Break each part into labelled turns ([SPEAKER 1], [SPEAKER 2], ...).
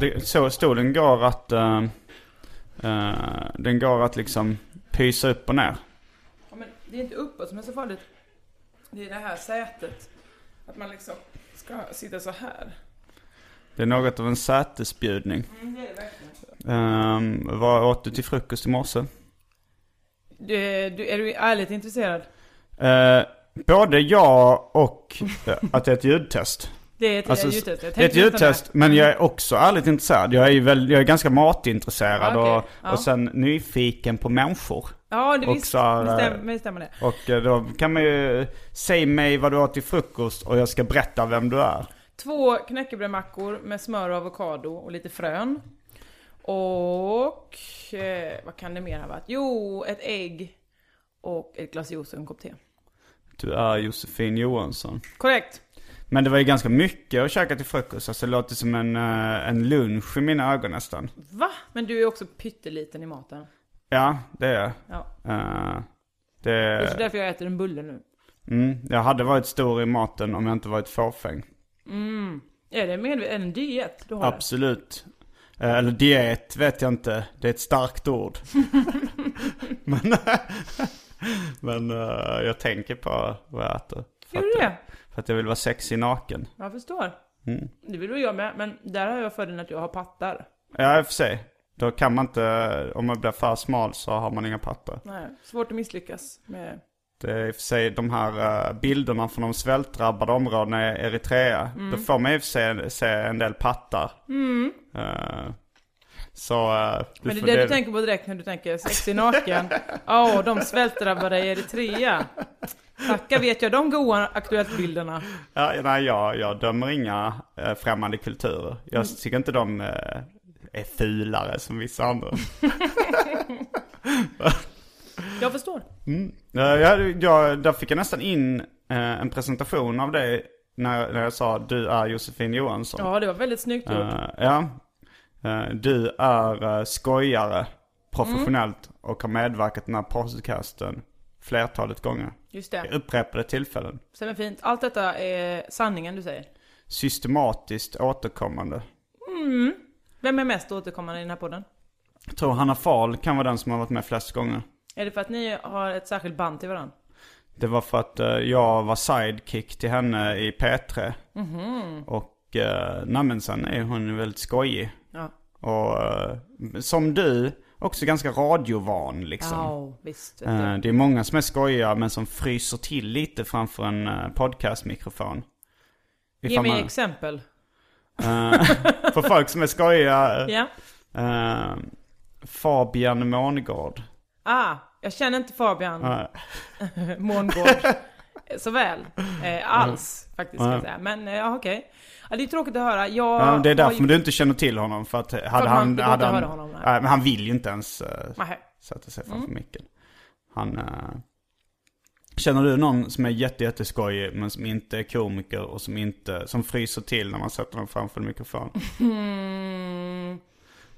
[SPEAKER 1] Det, så stor den går att... eh, eh, den går att liksom pysa upp och ner.
[SPEAKER 2] Ja, men det är inte uppåt som är så farligt. Det är det här sätet. Att man liksom ska sitta så här.
[SPEAKER 1] Det är något av en sätesbjudning.
[SPEAKER 2] Mm, Det är verkligen så.
[SPEAKER 1] Ehm, vad åt du till frukost i morse?
[SPEAKER 2] Du, du, är du ärligt intresserad?
[SPEAKER 1] Eh, både ja och eh, att det är ett ljudtest.
[SPEAKER 2] Det är ett
[SPEAKER 1] Alltså,
[SPEAKER 2] ljudtest. Jag
[SPEAKER 1] det är ett
[SPEAKER 2] tänkte nästan
[SPEAKER 1] ljudtest, men jag är också ärligt intresserad. Jag är, ju väl, jag är ganska matintresserad
[SPEAKER 2] Ja, Ah, okej.
[SPEAKER 1] och,
[SPEAKER 2] Ja.
[SPEAKER 1] och sen nyfiken på människor.
[SPEAKER 2] det. Ja, det
[SPEAKER 1] och
[SPEAKER 2] visst.
[SPEAKER 1] så här,
[SPEAKER 2] Det stämmer, det stämmer det.
[SPEAKER 1] Och eh, då kan man ju, säg mig vad du åt till frukost och jag ska berätta vem du är.
[SPEAKER 2] Två knäckebrödmackor med smör och avokado och lite frön. Och eh, vad kan det mer ha varit? Jo, ett ägg och ett glas juice och en kopp te.
[SPEAKER 1] Du är Josefin Johansson.
[SPEAKER 2] Korrekt.
[SPEAKER 1] Men det var ju ganska mycket att käka till frukost, alltså det låter som en, eh, en lunch i mina ögon nästan.
[SPEAKER 2] Va? Men du är också pytteliten i maten.
[SPEAKER 1] Ja, det är jag.
[SPEAKER 2] Ja.
[SPEAKER 1] Eh,
[SPEAKER 2] Det är så
[SPEAKER 1] det,
[SPEAKER 2] därför jag äter en bulle nu.
[SPEAKER 1] mm, jag hade varit stor i maten om jag inte varit fåfäng.
[SPEAKER 2] Mm. Är det medvetet? Är det en diet du har?
[SPEAKER 1] Absolut. Eh, Eller diet vet jag inte. Det är ett starkt ord. men men eh, jag tänker på vad jag äter. För
[SPEAKER 2] Gör du
[SPEAKER 1] att,
[SPEAKER 2] det?
[SPEAKER 1] För att jag vill vara sexig naken. Mm.
[SPEAKER 2] Jag förstår. Det vill väl jag med, men där har jag fördelen att jag har pattar.
[SPEAKER 1] Ja, i och för sig. Då kan man inte, om man blir för smal så har man inga pattar.
[SPEAKER 2] Nej, svårt att misslyckas med...
[SPEAKER 1] Det är eh, i och för sig de här eh, bilderna från de svältdrabbade områdena i Eritrea.
[SPEAKER 2] Mm.
[SPEAKER 1] Då får man i och för sig se en del pattar. Eh, så... eh, du
[SPEAKER 2] Men det
[SPEAKER 1] får-
[SPEAKER 2] är det du tänker på direkt när du tänker sexig naken. Ja, de svältdrabbade i Eritrea. Tacka vet jag de goa Aktuellt-bilderna.
[SPEAKER 1] Ja, nej, jag, jag dömer inga eh, främmande kulturer. Jag
[SPEAKER 2] Mm.
[SPEAKER 1] tycker inte de eh, är fulare som vissa andra.
[SPEAKER 2] Jag förstår.
[SPEAKER 1] Eh, jag, jag, där fick jag nästan in eh, en presentation av dig när, när jag sa du är Josefin Johansson.
[SPEAKER 2] Ja, det var väldigt snyggt gjort.
[SPEAKER 1] Eh, ja. Eh, du är eh, skojare professionellt och har medverkat i den här podcasten flertalet gånger.
[SPEAKER 2] Just
[SPEAKER 1] I
[SPEAKER 2] det.
[SPEAKER 1] upprepade tillfällen.
[SPEAKER 2] Stämmer fint. Allt detta är sanningen du säger.
[SPEAKER 1] Systematiskt återkommande.
[SPEAKER 2] Vem är mest återkommande i den här podden?
[SPEAKER 1] Jag tror Hanna Fahl kan vara den som har varit med flest gånger.
[SPEAKER 2] Är det för att ni har ett särskilt band till varandra?
[SPEAKER 1] Det var för att eh, jag var sidekick till henne i P3.
[SPEAKER 2] Mhm.
[SPEAKER 1] Och uh, nej, men sen är hon ju väldigt skojig.
[SPEAKER 2] Ja.
[SPEAKER 1] Och eh, som du, också ganska radiovan liksom.
[SPEAKER 2] Ja, visst. Vet
[SPEAKER 1] Eh,
[SPEAKER 2] du.
[SPEAKER 1] det är många som är skojiga men som fryser till lite framför en eh, podcastmikrofon.
[SPEAKER 2] Ge
[SPEAKER 1] Ifall
[SPEAKER 2] mig
[SPEAKER 1] man-
[SPEAKER 2] exempel.
[SPEAKER 1] Eh, För folk som är skojiga.
[SPEAKER 2] Ja.
[SPEAKER 1] eh, Fabian Mångård.
[SPEAKER 2] Ah, jag känner inte Fabian
[SPEAKER 1] Nej.
[SPEAKER 2] Mångård så väl. Eh, alls, faktiskt. Ska jag säga. Men eh, ja, okej. Ja, det är tråkigt att höra. Jag
[SPEAKER 1] Ja, Eh, det är
[SPEAKER 2] har
[SPEAKER 1] därför
[SPEAKER 2] ju-
[SPEAKER 1] du inte känner till honom. För att hade
[SPEAKER 2] man-
[SPEAKER 1] han...
[SPEAKER 2] det går
[SPEAKER 1] hade
[SPEAKER 2] inte att
[SPEAKER 1] han,
[SPEAKER 2] höra honom, nej.
[SPEAKER 1] nej, men han vill ju inte ens eh,
[SPEAKER 2] Nähä.
[SPEAKER 1] sätta sig framför micken. Han... eh, Känner du någon som är jätte, jätteskojig men som inte är komiker och som, inte, som fryser till när man sätter dem framför en mikrofon?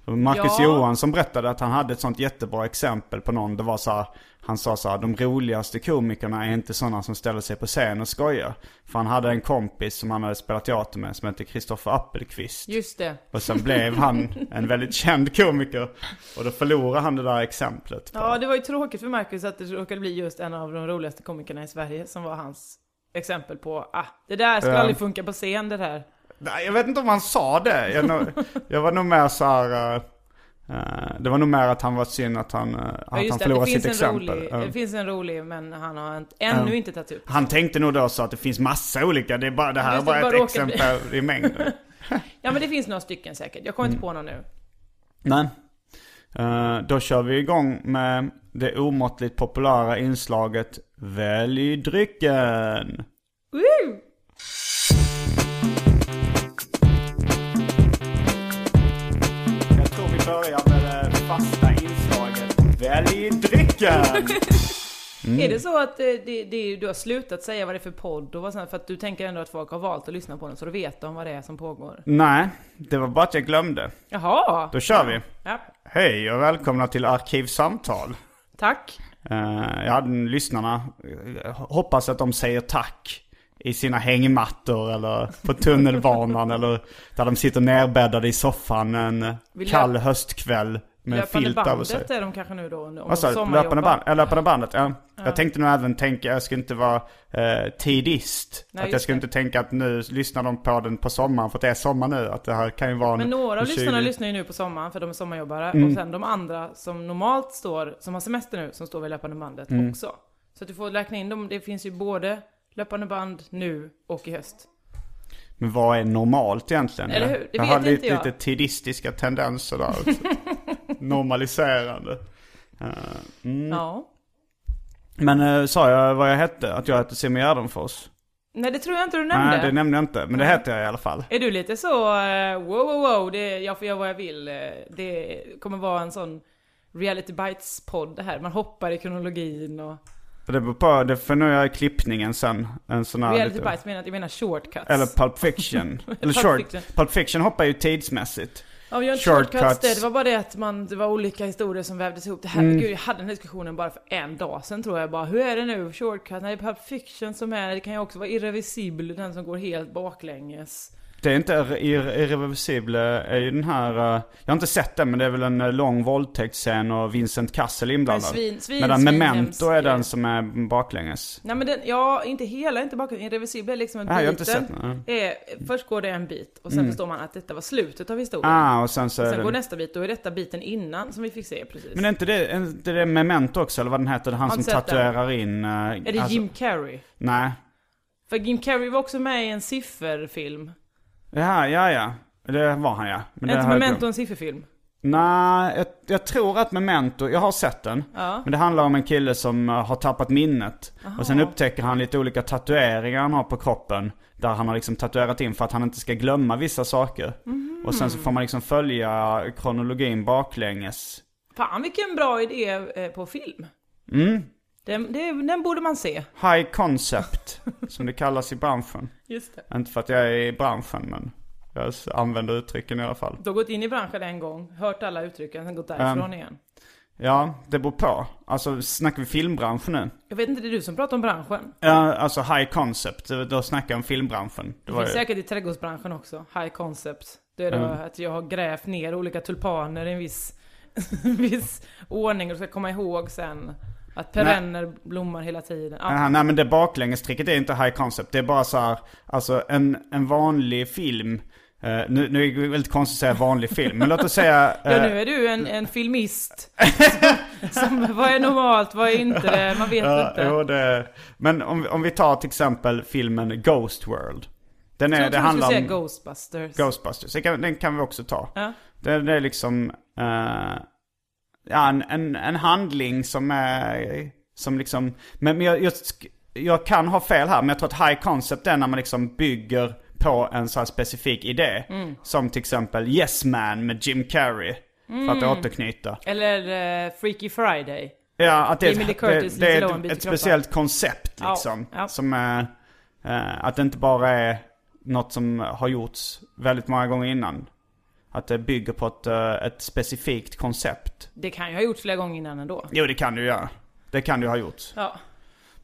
[SPEAKER 1] Marcus
[SPEAKER 2] Ja.
[SPEAKER 1] Johansson berättade att han hade ett sånt jättebra exempel på någon. Det var så här, han sa så här, de roligaste komikerna är inte sådana som ställer sig på scen och skojar. För han hade en kompis som han hade spelat teater med som hette Kristoffer Appelqvist.
[SPEAKER 2] Just det.
[SPEAKER 1] Och sen blev han en väldigt känd komiker. Och då förlorade han det där exemplet. på-
[SPEAKER 2] Ja, det var ju tråkigt för Marcus att det råkade bli just en av de roligaste komikerna i Sverige som var hans exempel på ah, det där skulle
[SPEAKER 1] Ja.
[SPEAKER 2] aldrig funka på scen det där.
[SPEAKER 1] Nej, jag vet inte om han sa det. Jag, nog- jag var nog mer så här... eh, eh, det var nog mer att han var synd att han, eh,
[SPEAKER 2] Ja,
[SPEAKER 1] att han
[SPEAKER 2] just det,
[SPEAKER 1] förlorade
[SPEAKER 2] det
[SPEAKER 1] sitt
[SPEAKER 2] finns, en
[SPEAKER 1] exempel.
[SPEAKER 2] rolig,
[SPEAKER 1] Eh,
[SPEAKER 2] det finns en rolig men han har inte, ännu inte tagit upp.
[SPEAKER 1] Han tänkte nog då så att det finns massa olika, det, är bara, det här är
[SPEAKER 2] Just det,
[SPEAKER 1] bara
[SPEAKER 2] bara
[SPEAKER 1] ett
[SPEAKER 2] råkar
[SPEAKER 1] exempel i mängden.
[SPEAKER 2] Ja men det finns några stycken säkert, jag kommer
[SPEAKER 1] Mm.
[SPEAKER 2] inte på någon nu.
[SPEAKER 1] Nej. Eh, då kör vi igång med det omåttligt populära inslaget Välj drycken.
[SPEAKER 2] Woo!
[SPEAKER 1] Jag tror vi börjar med det fasta inslaget Välj drycken.
[SPEAKER 2] Är
[SPEAKER 1] Mm.
[SPEAKER 2] det så att eh, det, det, du har slutat säga vad det är för podd och vad sånt, för att du tänker ändå att folk har valt att lyssna på den så då vet de vad det är som pågår?
[SPEAKER 1] Nej, det var bara att jag glömde.
[SPEAKER 2] Jaha!
[SPEAKER 1] Då kör vi.
[SPEAKER 2] Ja,
[SPEAKER 1] Hej och välkomna till Arkivsamtal.
[SPEAKER 2] tack!
[SPEAKER 1] Eh, jag hade lyssnarna, eh, hoppas att de säger tack i sina hängmattor eller på tunnelbanan eller där de sitter nerbäddade i soffan en
[SPEAKER 2] Vill
[SPEAKER 1] kall
[SPEAKER 2] jag-
[SPEAKER 1] höstkväll med en
[SPEAKER 2] Löpande
[SPEAKER 1] filt över sig.
[SPEAKER 2] bandet är de kanske nu då, om de
[SPEAKER 1] Vad sa du?
[SPEAKER 2] sommarjobbar.
[SPEAKER 1] Löpande, band, äh, löpande bandet? Ja. Jag tänkte nog även tänka, jag skulle inte vara eh, tidist.
[SPEAKER 2] Nej,
[SPEAKER 1] att jag
[SPEAKER 2] just
[SPEAKER 1] skulle
[SPEAKER 2] det.
[SPEAKER 1] inte tänka att nu lyssnar de på den på sommaren för att det är sommar nu. Att det här kan ju vara en,
[SPEAKER 2] Men några
[SPEAKER 1] en
[SPEAKER 2] av lyssnarna
[SPEAKER 1] 20
[SPEAKER 2] lyssnar ju nu på sommaren för de är sommarjobbare
[SPEAKER 1] Mm.
[SPEAKER 2] och sen de andra som normalt står, som har semester nu, som står vid löpande bandet
[SPEAKER 1] Mm.
[SPEAKER 2] också. Så att du får räkna in dem, det finns ju både löpande band nu och i höst.
[SPEAKER 1] Men vad är normalt egentligen?
[SPEAKER 2] Eller hur? Det
[SPEAKER 1] jag
[SPEAKER 2] vet
[SPEAKER 1] har
[SPEAKER 2] inte
[SPEAKER 1] lite,
[SPEAKER 2] jag.
[SPEAKER 1] lite tidistiska tendenser där också. Normaliserande. Mm.
[SPEAKER 2] Ja.
[SPEAKER 1] Men eh, sa jag vad jag hette? Att jag hette Simon Gärdenfors?
[SPEAKER 2] Nej det tror jag inte du nämnde.
[SPEAKER 1] Nej, det nämnde jag inte. Men det heter jag i alla fall.
[SPEAKER 2] Är du lite så, eh, wow wow wow, det, jag får göra vad jag vill. eh, Det kommer vara en sån Reality Bites-podd det här, man hoppar i kronologin och...
[SPEAKER 1] Och Det beror på, det får nog jag i klippningen sen. En sån här
[SPEAKER 2] reality
[SPEAKER 1] lite,
[SPEAKER 2] Bites menar att jag menar shortcuts.
[SPEAKER 1] Eller Pulp Fiction. eller
[SPEAKER 2] Pulp
[SPEAKER 1] short.
[SPEAKER 2] Fiction.
[SPEAKER 1] Pulp Fiction hoppar ju tidsmässigt.
[SPEAKER 2] Ja, vi har inte
[SPEAKER 1] Shortcuts.
[SPEAKER 2] shortcuts det, det var bara det att man, det var olika historier som vävdes ihop. Det här,
[SPEAKER 1] Mm.
[SPEAKER 2] gud, jag hade den här diskussionen bara för en dag sedan tror jag bara, hur är det nu? Shortcut, nej, Pulp Fiction som är, det kan ju också vara irrevisibel, den som går helt baklänges.
[SPEAKER 1] Det är inte irre- irre- irreversibel, eh, är ju den här, eh, jag har inte sett den men det är väl en eh, lång våldtäktsscen och Vincent Cassel inblandad.
[SPEAKER 2] Men svin- svin-
[SPEAKER 1] Medan
[SPEAKER 2] svin-
[SPEAKER 1] Memento är
[SPEAKER 2] hemsk, eh.
[SPEAKER 1] den som är baklänges.
[SPEAKER 2] Nej men den, ja, inte hela, inte baklänges, irreversibel är liksom en
[SPEAKER 1] Nej, jag har inte
[SPEAKER 2] biten.
[SPEAKER 1] sett den,
[SPEAKER 2] är, först går det en bit och sen förstår man att detta var slutet av historien.
[SPEAKER 1] Ah, och sen så är
[SPEAKER 2] Sen går
[SPEAKER 1] det...
[SPEAKER 2] nästa bit, då är detta biten innan som vi fick se precis.
[SPEAKER 1] Men är inte det, är inte det Memento också eller vad den heter? Han
[SPEAKER 2] Har
[SPEAKER 1] som
[SPEAKER 2] inte sett den.
[SPEAKER 1] tatuerar in... eh,
[SPEAKER 2] är det
[SPEAKER 1] alltså-
[SPEAKER 2] Jim Carrey?
[SPEAKER 1] Nej.
[SPEAKER 2] För Jim Carrey var också med i en sifferfilm.
[SPEAKER 1] Ja, ja, ja. Det var han ja. Men
[SPEAKER 2] Är
[SPEAKER 1] det
[SPEAKER 2] inte
[SPEAKER 1] har jag
[SPEAKER 2] Memento
[SPEAKER 1] glömt.
[SPEAKER 2] en sifferfilm?
[SPEAKER 1] Nej, jag, jag tror att Memento, jag har sett den. Men det handlar om en kille som eh, har tappat minnet. Och sen upptäcker han lite olika tatueringar han har på kroppen. Där han har liksom tatuerat in för att han inte ska glömma vissa saker. Och sen så får man liksom följa kronologin baklänges.
[SPEAKER 2] Fan vilken bra idé eh, på film.
[SPEAKER 1] Mm.
[SPEAKER 2] Den, det, den borde man se.
[SPEAKER 1] High concept, som det kallas i branschen.
[SPEAKER 2] Just det.
[SPEAKER 1] Inte för att jag är i branschen men jag s- använder uttrycken i alla fall.
[SPEAKER 2] Du har gått in i branschen en gång, hört alla uttrycken, sen
[SPEAKER 1] Ehm.
[SPEAKER 2] gått därifrån igen.
[SPEAKER 1] Ja, det beror på. Alltså snackar vi filmbranschen nu?
[SPEAKER 2] Jag vet inte, det är du som pratar om branschen.
[SPEAKER 1] Ja, alltså high concept, då snackar jag om filmbranschen. Det
[SPEAKER 2] Det
[SPEAKER 1] var
[SPEAKER 2] finns
[SPEAKER 1] ju... Mm.
[SPEAKER 2] säkert i trädgårdsbranschen också, high concept. Det är då att jag har grävt ner olika tulpaner i en viss, en viss ordning och ska komma ihåg sen att perenner blommar hela tiden. Ja,
[SPEAKER 1] Aha, nej men det baklängestricket är inte high concept, det är bara så här, alltså en, en vanlig film. Eh, nu, nu är det väldigt konstigt att säga vanlig film, men låt oss säga...
[SPEAKER 2] ja,
[SPEAKER 1] eh,
[SPEAKER 2] nu är du en, en filmist. som, som, vad är normalt, vad är inte det? Man vet
[SPEAKER 1] Ja,
[SPEAKER 2] inte.
[SPEAKER 1] eh, jo, det... Men om, om vi tar till exempel filmen Ghost World. Den
[SPEAKER 2] jag
[SPEAKER 1] är,
[SPEAKER 2] trodde
[SPEAKER 1] det
[SPEAKER 2] du skulle
[SPEAKER 1] handlar
[SPEAKER 2] säga
[SPEAKER 1] om...
[SPEAKER 2] Ghostbusters.
[SPEAKER 1] Ghostbusters, den kan, den kan vi också ta.
[SPEAKER 2] Ja.
[SPEAKER 1] Det, det är liksom eh, ja, en, en, en handling som är, som liksom, men men jag, jag, sk- jag kan ha fel här, men jag tror att high concept är när man liksom bygger på en så här specifik idé.
[SPEAKER 2] Mm.
[SPEAKER 1] Som till exempel
[SPEAKER 2] Mm.
[SPEAKER 1] Yes Man med Jim Carrey. För att återknyta.
[SPEAKER 2] Eller eh, Freaky Friday.
[SPEAKER 1] Ja, att det, är
[SPEAKER 2] Jamie Lee
[SPEAKER 1] ett-
[SPEAKER 2] Curtis,
[SPEAKER 1] det, det
[SPEAKER 2] Lindsay Lohan
[SPEAKER 1] är
[SPEAKER 2] byter
[SPEAKER 1] ett, ett
[SPEAKER 2] kroppar.
[SPEAKER 1] speciellt koncept
[SPEAKER 2] Ja,
[SPEAKER 1] liksom.
[SPEAKER 2] ja.
[SPEAKER 1] Som eh, eh, att det inte bara är något som har gjorts väldigt många gånger innan. Att det bygger på ett, eh, ett specifikt koncept.
[SPEAKER 2] Det kan ju ha gjorts flera gånger innan ändå.
[SPEAKER 1] Jo, det kan du göra. Det kan du ha gjort.
[SPEAKER 2] Ja.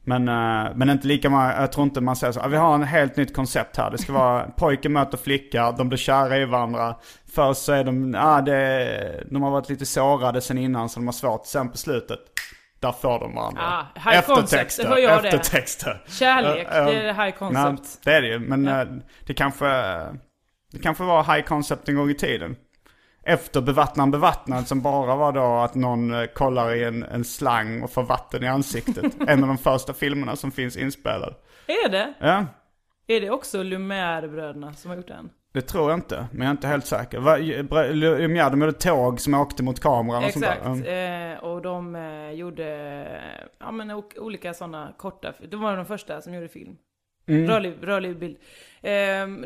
[SPEAKER 1] Men, eh, men inte lika många, jag tror inte man säger så. "Ah, Vi har en helt nytt koncept här. Det ska vara pojke möter flicka, de blir kära i varandra. Först så är de, ah, det, de har varit lite sårade sen innan så de har svårt. Sen på slutet, där får de varandra.
[SPEAKER 2] Ah, high concept, det var jag det.
[SPEAKER 1] eftertexter.
[SPEAKER 2] Kärlek,
[SPEAKER 1] Eh, eh,
[SPEAKER 2] det är high concept.
[SPEAKER 1] nej, det är det ju, men eh, det kanske, det kanske var high concept en gång i tiden. Efter bevattnaren bevattnad som bara var då att någon eh, kollar i en, en slang och får vatten i ansiktet. en av de första filmerna som finns inspelad.
[SPEAKER 2] Är det?
[SPEAKER 1] Ja,
[SPEAKER 2] Är det också Lumière-bröderna som har gjort den?
[SPEAKER 1] det tror jag inte, men jag är inte helt säker. Va- Br- Lumière, de gjorde tåg som åkte mot kameran och sånt
[SPEAKER 2] Exakt.
[SPEAKER 1] där. Mm.
[SPEAKER 2] Eh, och de eh, gjorde eh, ja, men, o- olika sådana korta, de var de första som gjorde film.
[SPEAKER 1] Mm.
[SPEAKER 2] Rörlig, rörlig bild. Eh,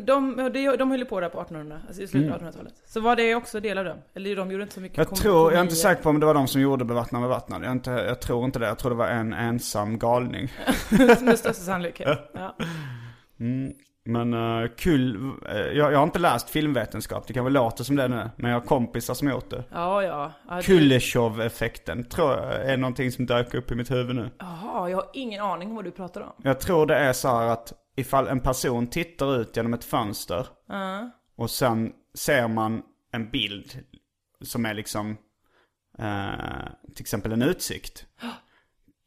[SPEAKER 2] de, de, de höll ju på där på 1800, alltså i slutet av 1800-talet. Så var det också del av dem? Eller de gjorde inte så mycket
[SPEAKER 1] Mm. Jag
[SPEAKER 2] kom-
[SPEAKER 1] tror, jag är inte
[SPEAKER 2] komedier.
[SPEAKER 1] säker på om det var de som gjorde bevattnaren bevattnad. Jag, är inte, jag tror inte det, jag tror det var en ensam galning.
[SPEAKER 2] Med största sannolikhet. Ja.
[SPEAKER 1] Men eh, kul, eh, jag, jag har inte läst filmvetenskap, det kanske låter som det nu, men jag har kompisar som har gjort det.
[SPEAKER 2] Ja, ja. ja. det-
[SPEAKER 1] Kuleshov-effekten tror jag är någonting som dök upp i mitt huvud nu.
[SPEAKER 2] Jaha, jag har ingen aning om vad du pratar om.
[SPEAKER 1] Jag tror det är så här att ifall en person tittar ut genom ett fönster och sen ser man en bild som är liksom eh, till exempel en utsikt.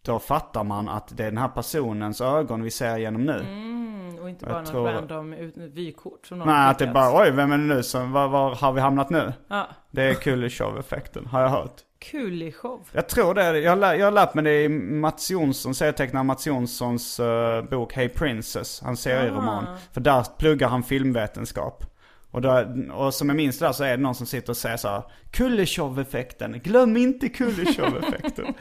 [SPEAKER 1] Då fattar man att det är den här personens ögon vi ser genom nu.
[SPEAKER 2] Mm, och inte bara något
[SPEAKER 1] tror-
[SPEAKER 2] random ut, vykort som någon
[SPEAKER 1] Nej,
[SPEAKER 2] har
[SPEAKER 1] att det är
[SPEAKER 2] skickat.
[SPEAKER 1] bara oj, vem är det nu som, var, var har vi hamnat nu?
[SPEAKER 2] Ja.
[SPEAKER 1] Det är Kuleshov-effekten, har jag hört.
[SPEAKER 2] Kulishow.
[SPEAKER 1] Jag tror det, är det. jag har, lä- jag har lärt mig det i Mats Jonsson, serietecknaren Mats Jonssons eh, bok Hey Princess, hans serieroman.
[SPEAKER 2] Ah.
[SPEAKER 1] För där pluggar han filmvetenskap. Och, där, och som jag minns det där så är det någon som sitter och säger så här, Kuleshov-effekten, glöm inte Kuleshov-effekten.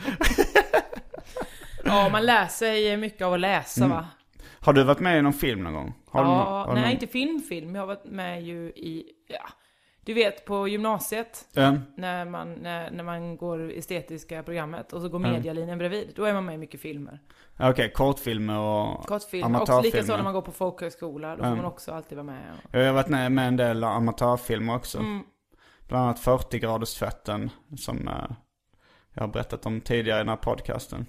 [SPEAKER 2] Ja, man lär sig mycket av att läsa
[SPEAKER 1] Mm.
[SPEAKER 2] va?
[SPEAKER 1] har du varit med i någon film någon gång? Har du någon-
[SPEAKER 2] Ja,
[SPEAKER 1] har du
[SPEAKER 2] nej,
[SPEAKER 1] någon-
[SPEAKER 2] inte filmfilm. Jag har varit med ju i, ja, du vet på gymnasiet.
[SPEAKER 1] Ja.
[SPEAKER 2] När, man, när, när man går estetiska programmet och så går
[SPEAKER 1] Mm.
[SPEAKER 2] medialinjen bredvid. Då är man med i mycket filmer.
[SPEAKER 1] Okej, kortfilmer och
[SPEAKER 2] Kortfilmer. Och
[SPEAKER 1] amatörfilmer. Mm.
[SPEAKER 2] likaså när man går på folkhögskola. Då får man också alltid vara med.
[SPEAKER 1] Jag har varit med med en del amatörfilmer också.
[SPEAKER 2] Mm.
[SPEAKER 1] Bland annat 40 graders tvätten som eh, jag har berättat om tidigare i den här podcasten.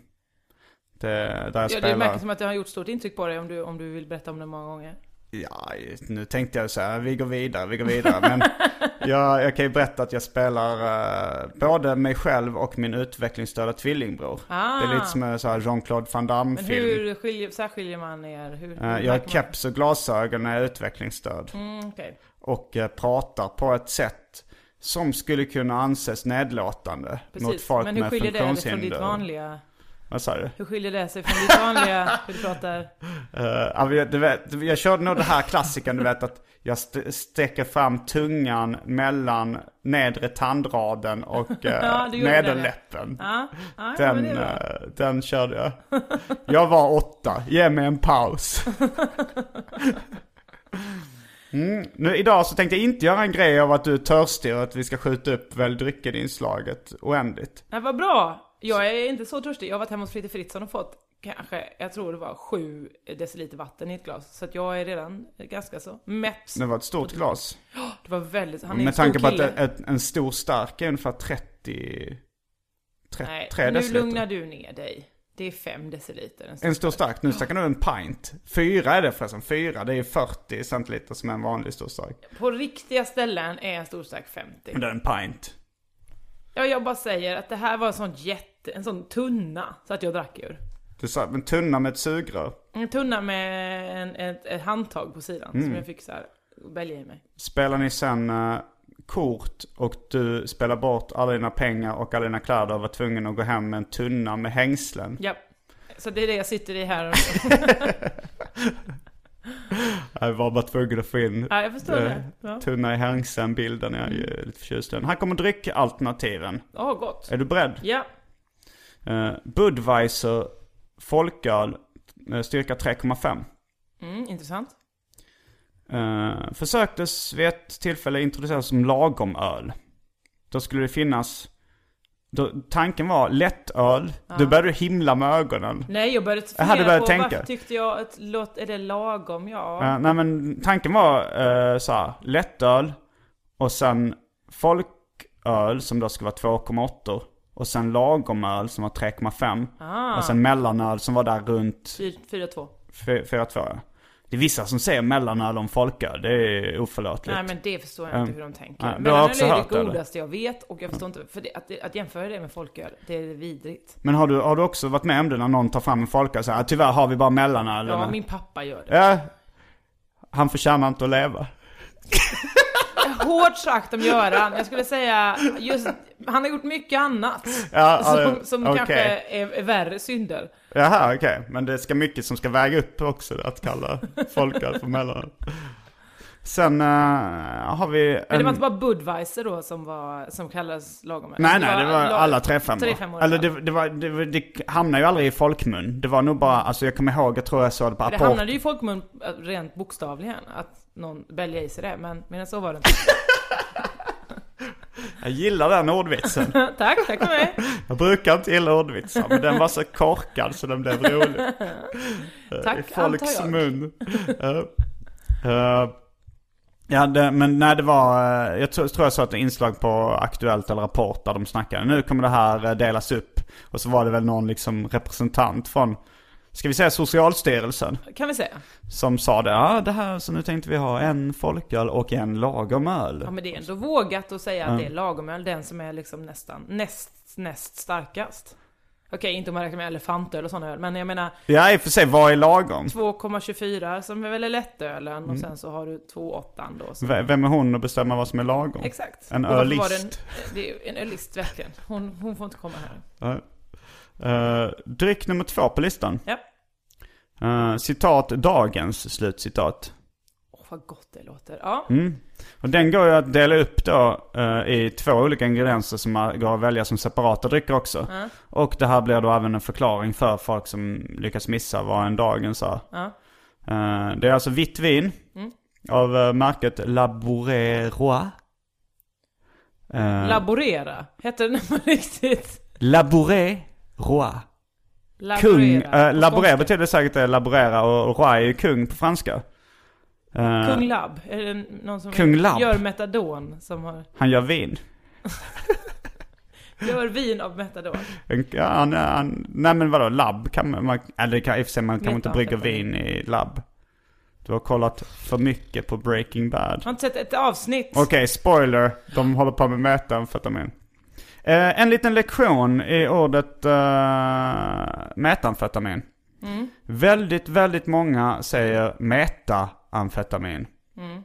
[SPEAKER 1] Det, där jag
[SPEAKER 2] Ja, det
[SPEAKER 1] spelar...
[SPEAKER 2] märker som att det har gjort stort intryck på dig om du, om du vill berätta om det många gånger.
[SPEAKER 1] Ja, nu tänkte jag så här, vi går vidare, vi går vidare. Men jag, jag kan ju berätta att jag spelar eh, både mig själv och min utvecklingsstörda tvillingbror. Det är lite som en så här Jean-Claude Van
[SPEAKER 2] Ah. Men
[SPEAKER 1] Damme-film.
[SPEAKER 2] hur skiljer, särskiljer man er? Hur, hur
[SPEAKER 1] Eh,
[SPEAKER 2] märker
[SPEAKER 1] jag
[SPEAKER 2] man-
[SPEAKER 1] har keps och glasögon när jag är utvecklingsstörd.
[SPEAKER 2] Mm, okej.
[SPEAKER 1] och eh, pratar på ett sätt som skulle kunna anses nedlåtande mot
[SPEAKER 2] Precis.
[SPEAKER 1] folk
[SPEAKER 2] Men hur
[SPEAKER 1] med
[SPEAKER 2] skiljer det sig från
[SPEAKER 1] funktionshinder.
[SPEAKER 2] ditt vanliga?
[SPEAKER 1] Vad sa du?
[SPEAKER 2] Hur skiljer det sig från ditt vanliga hur du pratar?
[SPEAKER 1] Eh, ja, men jag, du vet, jag körde nog det här klassiken du vet att jag st- sträcker fram tungan mellan nedre tandraden och eh,
[SPEAKER 2] Ja, du gjorde det,
[SPEAKER 1] nederläppen.
[SPEAKER 2] Ja, ja, Ah, ja, men
[SPEAKER 1] Den,
[SPEAKER 2] det är bra.
[SPEAKER 1] eh, den körde jag. Jag var åtta, ge mig en paus. Mm. Nu, idag så tänkte jag inte göra en grej av att du är törstig och att vi ska skjuta upp väl drycken-inslaget oändligt.
[SPEAKER 2] Nej, vad bra! Jag är inte så törstig. Jag har varit hemma hos Fritte Fritzson och fått kanske, jag tror det var sju deciliter vatten i ett glas. Så att jag är redan ganska så mätt.
[SPEAKER 1] Det var ett stort glas.
[SPEAKER 2] Det var väldigt, han är en
[SPEAKER 1] Med
[SPEAKER 2] stor
[SPEAKER 1] tanke på att
[SPEAKER 2] kille.
[SPEAKER 1] ett, en stor stark är ungefär 30... 30
[SPEAKER 2] Nej,
[SPEAKER 1] tre
[SPEAKER 2] nu
[SPEAKER 1] deciliter.
[SPEAKER 2] lugnar du ner dig. Det är fem deciliter. En stor-
[SPEAKER 1] En stor stark, nu snackar du en pint. Fyra är det förresten, fyra det är 40 centiliter som är en vanlig stor stark.
[SPEAKER 2] På riktiga ställen är en stor stark 50.
[SPEAKER 1] Men det är en pint.
[SPEAKER 2] Ja, jag bara säger att det här var en sån jätte, en sån tunna, så att jag drack ur.
[SPEAKER 1] Du sa, men tunna med ett sugrör.
[SPEAKER 2] En tunna med en, ett, ett handtag på sidan
[SPEAKER 1] Mm.
[SPEAKER 2] som jag fick så här välja i mig.
[SPEAKER 1] Spelar ni sen eh, kort och du spelar bort alla dina pengar och alla dina kläder och var tvungen att gå hem med en tunna med hängslen.
[SPEAKER 2] Ja. Så det är det jag sitter i här.
[SPEAKER 1] Jag var bara tvungen att få in
[SPEAKER 2] Ja, jag förstår
[SPEAKER 1] eh,
[SPEAKER 2] det. Ja. Mm.
[SPEAKER 1] tunna i hängslen-bilden. Jag är ju lite förtjust i den. Här kommer dryckalternativen.
[SPEAKER 2] Åh, gott.
[SPEAKER 1] Är du beredd?
[SPEAKER 2] Ja.
[SPEAKER 1] Eh, Budweiser folköl eh, styrka 3,5.
[SPEAKER 2] Mm, intressant.
[SPEAKER 1] Eh, försöktes vid ett tillfälle introduceras som lagomöl. Då skulle det finnas Då, tanken var lättöl, då började du himla med ögonen.
[SPEAKER 2] Nej, jag började
[SPEAKER 1] Jag
[SPEAKER 2] fundera
[SPEAKER 1] hade börjat
[SPEAKER 2] på
[SPEAKER 1] tänka.
[SPEAKER 2] varför tyckte jag att låt, är det lagom? Ja.
[SPEAKER 1] Eh, nej men tanken var uh, så här, lättöl och sen folköl som då skulle vara 2,8 och sen lagomöl som var 3,5
[SPEAKER 2] Ah.
[SPEAKER 1] och sen mellanöl som var där runt
[SPEAKER 2] 4-2.
[SPEAKER 1] 4,2. ja. Det är vissa som säger mellanöl om folköl, det är oförlåtligt.
[SPEAKER 2] Nej men det förstår jag inte hur de tänker.
[SPEAKER 1] Ja, du har
[SPEAKER 2] Men Mellanöl
[SPEAKER 1] också
[SPEAKER 2] är
[SPEAKER 1] hört det,
[SPEAKER 2] det
[SPEAKER 1] eller?
[SPEAKER 2] godaste jag vet och jag förstår inte, för det, att, att jämföra det med folköl, det är vidrigt.
[SPEAKER 1] Men har du, har du också varit med om det när någon tar fram en folköl så här, "Ah, tyvärr har vi bara mellanöl.
[SPEAKER 2] Ja,
[SPEAKER 1] Eller-
[SPEAKER 2] min pappa gör det.
[SPEAKER 1] Ja, han förtjänar inte att leva.
[SPEAKER 2] Hårt sagt om Göran, jag skulle säga just, han har gjort mycket annat.
[SPEAKER 1] Ja, ja,
[SPEAKER 2] som som
[SPEAKER 1] okej.
[SPEAKER 2] kanske är, är värre synder.
[SPEAKER 1] Jaha, okej. Men det ska mycket som ska väga upp också, att kalla folköl för mellanöl. Sen eh, har vi...
[SPEAKER 2] Men det
[SPEAKER 1] en-
[SPEAKER 2] var inte bara Budweiser då som, var, som kallades lagom?
[SPEAKER 1] Nej, nej, det var
[SPEAKER 2] la-
[SPEAKER 1] alla trefemmor.
[SPEAKER 2] trefemmor,
[SPEAKER 1] Eller
[SPEAKER 2] ja.
[SPEAKER 1] det, det, var, det, var- det hamnade ju aldrig i folkmun. Det var nog bara, alltså jag kommer ihåg, jag tror jag såg det på
[SPEAKER 2] Det
[SPEAKER 1] Aport.
[SPEAKER 2] hamnade ju i folkmun äh, rent bokstavligen, att någon bälgade i sig det, men, men så var det inte.
[SPEAKER 1] Jag gillar den ordvitsen.
[SPEAKER 2] tack, tack för mig.
[SPEAKER 1] Jag brukar inte gilla ordvitsar, men den var så korkad så den blev rolig.
[SPEAKER 2] Tack,
[SPEAKER 1] I folks
[SPEAKER 2] antar jag.
[SPEAKER 1] mun. Eh, eh, ja, det, men nej det var, eh, jag tror, tror jag såg ett inslag på Aktuellt eller Rapport där de snackade. Nu kommer det här eh, delas upp. Och så var det väl någon liksom representant från, ska vi säga Socialstyrelsen?
[SPEAKER 2] Kan vi säga.
[SPEAKER 1] Som sa det, ja det här, så nu tänkte vi ha en folköl och en lagom öl.
[SPEAKER 2] Ja men det är ändå vågat att säga att det är lagomöl, den som är liksom nästan näst, näst starkast. Okej, inte om man räknar med elefantöl och sådana öl, men jag menar
[SPEAKER 1] Ja i och för sig, vad är lagom?
[SPEAKER 2] 2,24 som är väl är lättölen
[SPEAKER 1] Mm.
[SPEAKER 2] och sen så har du 2,8 då. Så.
[SPEAKER 1] V- Vem är hon att bestämma vad som är lagom?
[SPEAKER 2] Exakt.
[SPEAKER 1] En
[SPEAKER 2] Och varför
[SPEAKER 1] ölist.
[SPEAKER 2] var det en- Det är ju en ölist verkligen. Hon, hon får inte komma här.
[SPEAKER 1] Ja. Eh, dryck nummer två på listan.
[SPEAKER 2] Ja.
[SPEAKER 1] Eh, citat dagens slutcitat.
[SPEAKER 2] Åh vad gott det låter. Ja,
[SPEAKER 1] Mm. Och den går ju att dela upp då eh, i två olika ingredienser som man går att välja som separata drycker också. Och det här blir då även en förklaring för folk som lyckas missa vad en dagens är. Eh, det är alltså vitt vin av eh, märket Labouré-Roi. Uh,
[SPEAKER 2] laborera. Hette den på riktigt?
[SPEAKER 1] Labouré-Roi. Kung,
[SPEAKER 2] Laborera.
[SPEAKER 1] äh, laborera betyder säkert det, laborera och roi är ju kung på franska. Eh,
[SPEAKER 2] Kung Lab. Är det någon som
[SPEAKER 1] Kung Lab.
[SPEAKER 2] gör metadon som har...
[SPEAKER 1] Han gör vin.
[SPEAKER 2] Gör vin av metadon.
[SPEAKER 1] En- Ja, han, han, nej men vadå, labb kan man, man eller kan, i och för sig man kan inte brygga vin i labb. Du har kollat för mycket på Breaking Bad.
[SPEAKER 2] Har inte sett ett avsnitt.
[SPEAKER 1] Okej, spoiler. De håller på med metanfetamin. Eh, en liten lektion i ordet eh, metanfetamin.
[SPEAKER 2] Mm.
[SPEAKER 1] Väldigt, väldigt många säger metaamfetamin.
[SPEAKER 2] Mm.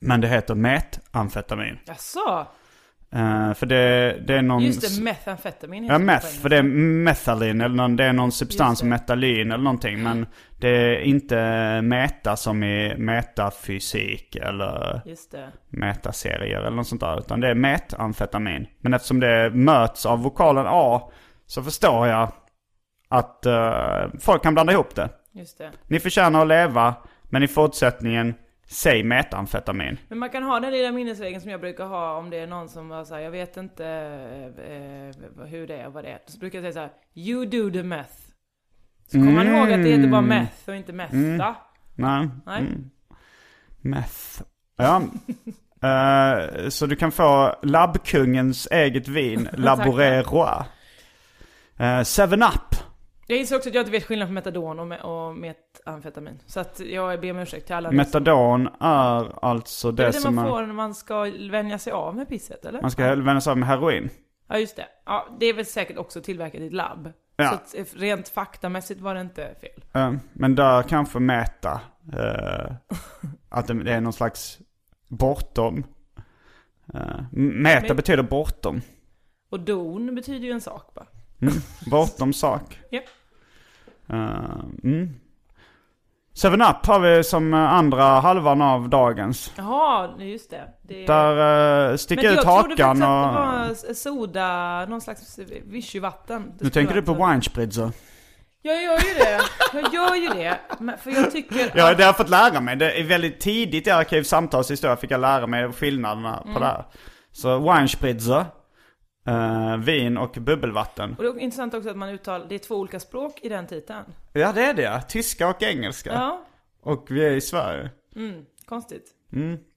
[SPEAKER 1] Men det heter metamfetamin.
[SPEAKER 2] Jaså?
[SPEAKER 1] Eh, för det, det är någon...
[SPEAKER 2] Just det, metamfetamin heter
[SPEAKER 1] Ja,
[SPEAKER 2] det på
[SPEAKER 1] meth,
[SPEAKER 2] engelska.
[SPEAKER 1] för det är methalin eller någon, det är någon substans,
[SPEAKER 2] Just det.
[SPEAKER 1] metalin eller någonting. Men det är inte meta som i metafysik eller
[SPEAKER 2] Just det.
[SPEAKER 1] metaserier eller något sånt där. Utan det är metamfetamin. Men eftersom det möts av vokalen A så förstår jag att eh, folk kan blanda ihop det.
[SPEAKER 2] Just det.
[SPEAKER 1] Ni förtjänar att leva, men i fortsättningen, säg metamfetamin.
[SPEAKER 2] Men man kan ha den lilla minnesregeln som jag brukar ha om det är någon som var såhär, jag vet inte eh, hur det är och vad det är. Så brukar jag säga såhär, you do the meth. Så kommer man ihåg att det heter bara
[SPEAKER 1] Mm.
[SPEAKER 2] meth och inte meth, va?
[SPEAKER 1] Nej. Mm.
[SPEAKER 2] Nej.
[SPEAKER 1] Meth. Ja. Eh, så du kan få labbkungens eget vin, Laboré Roi. Eh, Seven Up.
[SPEAKER 2] Jag inser också att jag inte vet skillnaden på metadon och, me- och metamfetamin. Så att jag ber om ursäkt till alla.
[SPEAKER 1] Metadon är alltså
[SPEAKER 2] det
[SPEAKER 1] det,
[SPEAKER 2] är det
[SPEAKER 1] som
[SPEAKER 2] man
[SPEAKER 1] man,
[SPEAKER 2] får när man ska vänja sig av med pisset, eller?
[SPEAKER 1] man ska vänja sig av med heroin.
[SPEAKER 2] Ja, just det. Ja, det är väl säkert också tillverkat i ett labb.
[SPEAKER 1] Ja.
[SPEAKER 2] Så att eh, rent faktamässigt var det inte fel.
[SPEAKER 1] Eh, men där kanske Meta, eh, att det det är någon slags bortom. Eh, meta
[SPEAKER 2] Men-
[SPEAKER 1] betyder bortom.
[SPEAKER 2] Och don betyder ju en sak bara.
[SPEAKER 1] Bortom sak.
[SPEAKER 2] Ja.
[SPEAKER 1] Eh, mm. Seven Up har vi som eh, andra halvan av dagens.
[SPEAKER 2] Jaha, nej, just det. det...
[SPEAKER 1] Där uh,
[SPEAKER 2] Men
[SPEAKER 1] sticker
[SPEAKER 2] jag
[SPEAKER 1] ut
[SPEAKER 2] trodde faktiskt att
[SPEAKER 1] hakan
[SPEAKER 2] det
[SPEAKER 1] och...
[SPEAKER 2] var s- soda, någon slags vichyvatten.
[SPEAKER 1] Nu tänker du på winespritzer.
[SPEAKER 2] Jag gör ju det. Jag gör ju det. Men för jag tycker
[SPEAKER 1] Ja,
[SPEAKER 2] att...
[SPEAKER 1] det har jag fått lära mig. Det är väldigt tidigt i
[SPEAKER 2] Mm.
[SPEAKER 1] Arkivs samtalshistoria fick jag lära mig skillnaderna på det här. Så winespritzer, eh, vin och bubbelvatten.
[SPEAKER 2] Och det är intressant också att man uttalar, det är två olika språk i den titeln.
[SPEAKER 1] Ja det är det, tyska och engelska.
[SPEAKER 2] Ja,
[SPEAKER 1] Och vi är i Sverige.
[SPEAKER 2] konstigt.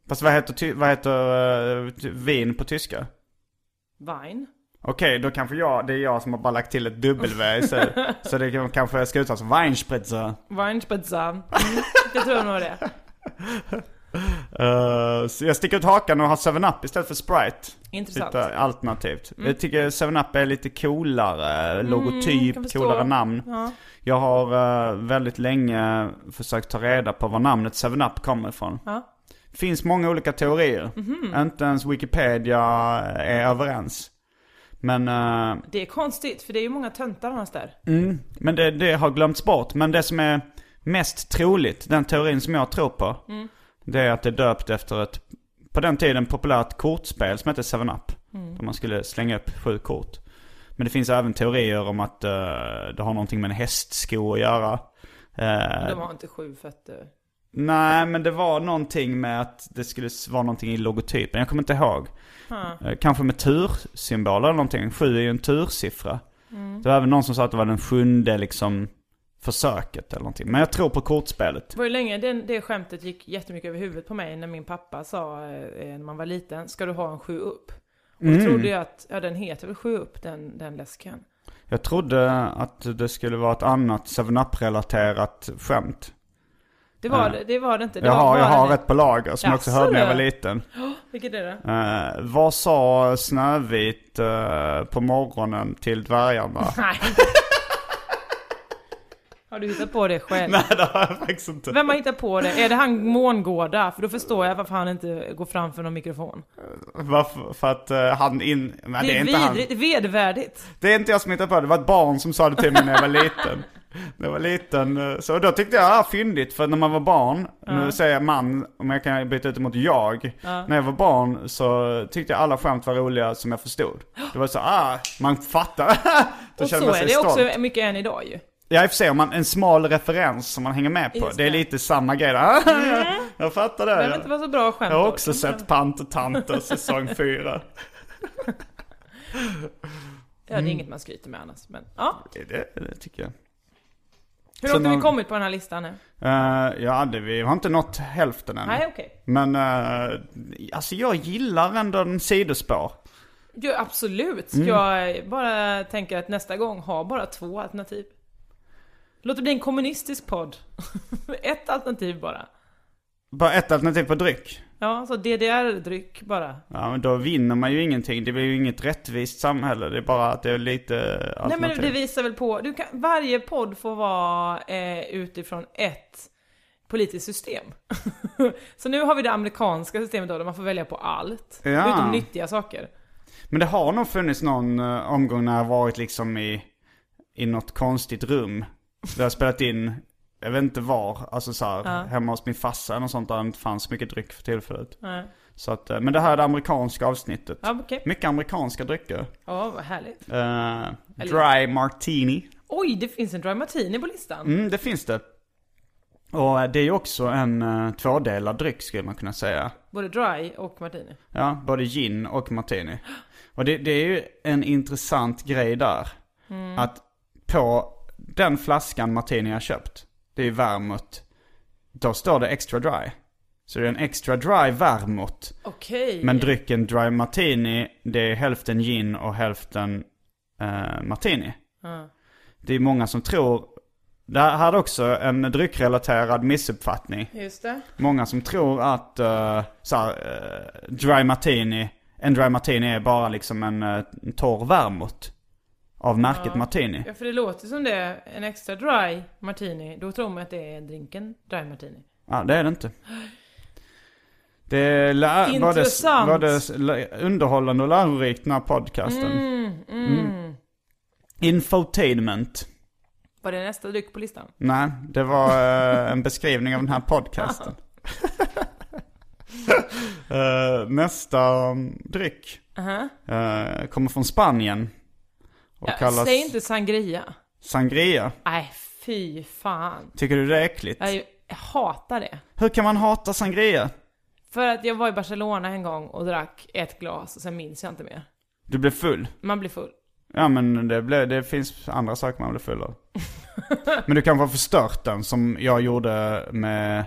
[SPEAKER 1] Fast vad heter, ty- vad heter eh, ty- vin på tyska?
[SPEAKER 2] Vine.
[SPEAKER 1] Okej, då kanske jag, det är jag som har bara lagt till ett W istället. Så det kan- kanske jag ska uttala som Weinspritzer.
[SPEAKER 2] Weinspitza. Mm, jag tror nog det.
[SPEAKER 1] Eh, så jag sticker ut hakan och har 7-Up istället för Sprite.
[SPEAKER 2] Intressant.
[SPEAKER 1] Lite alternativt.
[SPEAKER 2] Mm.
[SPEAKER 1] Jag tycker 7-Up är lite coolare logotyp,
[SPEAKER 2] kan förstå.
[SPEAKER 1] coolare namn. Jag har eh, väldigt länge försökt ta reda på var namnet 7-Up kommer ifrån.
[SPEAKER 2] Ja. Mhm.
[SPEAKER 1] finns många olika teorier. Inte ens Wikipedia eh, är överens. Men, eh,
[SPEAKER 2] Det är konstigt, för det är ju många töntar annars där.
[SPEAKER 1] men det, det har glömts bort. Men det som är mest troligt, den teorin som jag tror på,
[SPEAKER 2] Mm.
[SPEAKER 1] det är att det är döpt efter ett, på den tiden, populärt kortspel som hette 7-Up.
[SPEAKER 2] Mm.
[SPEAKER 1] Där man skulle slänga upp sju kort. Men det finns även teorier om att eh, det har någonting med en hästsko att göra. Eh,
[SPEAKER 2] De har inte sju fötter.
[SPEAKER 1] Nej, men det var någonting med att det skulle s- vara någonting i logotypen. Jag kommer inte ihåg. Eh, Kanske med tursymboler eller någonting. Sju är ju en tursiffra.
[SPEAKER 2] Mm.
[SPEAKER 1] Det var även någon som sa att det var den sjunde liksom försöket eller någonting. Men jag tror på kortspelet.
[SPEAKER 2] Det var ju länge det, det skämtet gick jättemycket över huvudet på mig när min pappa sa eh, när man var liten, ska du ha en sju upp? Och
[SPEAKER 1] Mm.
[SPEAKER 2] då trodde jag att, ja den heter väl sju upp den, den läsken.
[SPEAKER 1] Jag trodde att det skulle vara ett annat 7-Up-relaterat skämt.
[SPEAKER 2] Det var
[SPEAKER 1] Ja.
[SPEAKER 2] det, det var det inte. Det
[SPEAKER 1] Jag
[SPEAKER 2] var
[SPEAKER 1] har, jag
[SPEAKER 2] bara
[SPEAKER 1] har
[SPEAKER 2] den-
[SPEAKER 1] ett på lager som jag också
[SPEAKER 2] Jaså,
[SPEAKER 1] hörde när jag var
[SPEAKER 2] du?
[SPEAKER 1] liten.
[SPEAKER 2] Vilket är det?
[SPEAKER 1] Eh, vad sa Snövit eh, på morgonen till dvärgarna?
[SPEAKER 2] Nej. har du hittat på det själv?
[SPEAKER 1] Nej, det har jag faktiskt inte.
[SPEAKER 2] Vem har hittat på det? Är det han Mångårda? För då förstår jag varför han inte går framför någon mikrofon.
[SPEAKER 1] Varför? För att eh, han in... Men det är inte han.
[SPEAKER 2] vidrigt, vedervärdigt.
[SPEAKER 1] Det är inte jag som hittar på det. Det var ett barn som sa det till mig när jag var liten. När jag var liten. eh, Så då tyckte jag, ah, fyndigt. För när man var barn, nu säger jag man, om jag kan byta ut det mot jag. När jag var barn så tyckte jag alla skämt var roliga som jag förstod. Det var så, ah, man fattar. då
[SPEAKER 2] Och så
[SPEAKER 1] känner man sig
[SPEAKER 2] är det
[SPEAKER 1] stolt.
[SPEAKER 2] också mycket än idag ju.
[SPEAKER 1] Ja i och för sig, om man, en smal referens som man hänger med på.
[SPEAKER 2] Just
[SPEAKER 1] Det är
[SPEAKER 2] det.
[SPEAKER 1] lite samma grej. där. Ah, jag, jag fattar det.
[SPEAKER 2] Det behöver inte vara så bra skämt.
[SPEAKER 1] Jag har
[SPEAKER 2] då.
[SPEAKER 1] också sett Pant och Tanter säsong 4.
[SPEAKER 2] Ja,
[SPEAKER 1] Mm.
[SPEAKER 2] det är inget man skryter med annars. Men, ja.
[SPEAKER 1] Det, det tycker jag.
[SPEAKER 2] Hur
[SPEAKER 1] Så
[SPEAKER 2] långt har vi
[SPEAKER 1] någon-
[SPEAKER 2] kommit på den här listan nu?
[SPEAKER 1] Eh, ja, det, vi har inte nått hälften än.
[SPEAKER 2] Nej, okej.
[SPEAKER 1] Men eh, alltså jag gillar ändå en sidospår.
[SPEAKER 2] Jo, absolut.
[SPEAKER 1] Mm.
[SPEAKER 2] Ska Jag bara tänker att nästa gång ha bara två alternativ. Låt det bli en kommunistisk podd. Ett alternativ bara.
[SPEAKER 1] Bara ett alternativ på dryck.
[SPEAKER 2] Ja, så DDR-dryck bara.
[SPEAKER 1] Ja, men då vinner man ju ingenting. Det blir ju inget rättvist samhälle. Det är bara att det är lite
[SPEAKER 2] Nej
[SPEAKER 1] alternativ.
[SPEAKER 2] men det visar väl på, du kan, varje podd får vara eh, utifrån ett politiskt system. så nu har vi det amerikanska systemet då, där man får välja på allt.
[SPEAKER 1] Ja.
[SPEAKER 2] Utom nyttiga saker.
[SPEAKER 1] Men det har nog funnits någon eh, omgång när jag varit liksom i, i något konstigt rum. Där jag spelat in, jag vet inte var, alltså så här, hemma hos min farsa eller sånt där det inte fanns mycket dryck för tillfället. Så att, eh, men det här är det amerikanska avsnittet.
[SPEAKER 2] Ja, okej.
[SPEAKER 1] Mycket amerikanska drycker.
[SPEAKER 2] Ja, vad härligt.
[SPEAKER 1] Eh, dry martini.
[SPEAKER 2] Oj, det finns en dry martini på listan.
[SPEAKER 1] Mm, det finns det. Och eh, det är ju också en eh, tvådelad dryck skulle man kunna säga.
[SPEAKER 2] Både dry och martini.
[SPEAKER 1] Ja, både gin och martini. Och det, det är ju en intressant grej där. Att på den flaskan martini jag köpt, det är ju vermouth, då står det extra dry. Så det är en extra dry vermouth.
[SPEAKER 2] Okej.
[SPEAKER 1] Men drycken dry martini, det är hälften gin och hälften eh, martini. Det är många som tror, det här är också en dryckrelaterad missuppfattning.
[SPEAKER 2] Just det.
[SPEAKER 1] Många som tror att eh, så här, eh, dry martini, en dry martini är bara liksom en eh, torr vermouth. Av märket martini.
[SPEAKER 2] Ja, för det låter som det. är En extra dry martini, då tror man att det är drinken dry martini.
[SPEAKER 1] Ja, det är det inte. Det lär,
[SPEAKER 2] Intressant.
[SPEAKER 1] Var det, var det underhållande och lärorikt den här podcasten. Mm. Infotainment.
[SPEAKER 2] Var det nästa dryck på listan?
[SPEAKER 1] Nej, det var eh, en beskrivning av den här podcasten. Eh, nästa um, dryck eh, kommer från Spanien. Och
[SPEAKER 2] Ja,
[SPEAKER 1] kallas
[SPEAKER 2] Säg inte sangria.
[SPEAKER 1] sangria.
[SPEAKER 2] Nej, fy fan.
[SPEAKER 1] Tycker du det är äckligt?
[SPEAKER 2] Jag jag hatar det.
[SPEAKER 1] Hur kan man hata sangria?
[SPEAKER 2] För att jag var i Barcelona en gång och drack ett glas och sen minns jag inte mer.
[SPEAKER 1] Du blev full?
[SPEAKER 2] Man blir full.
[SPEAKER 1] Ja men det, blev, det finns andra saker man blir full av. men du kanske har förstört den som jag gjorde med,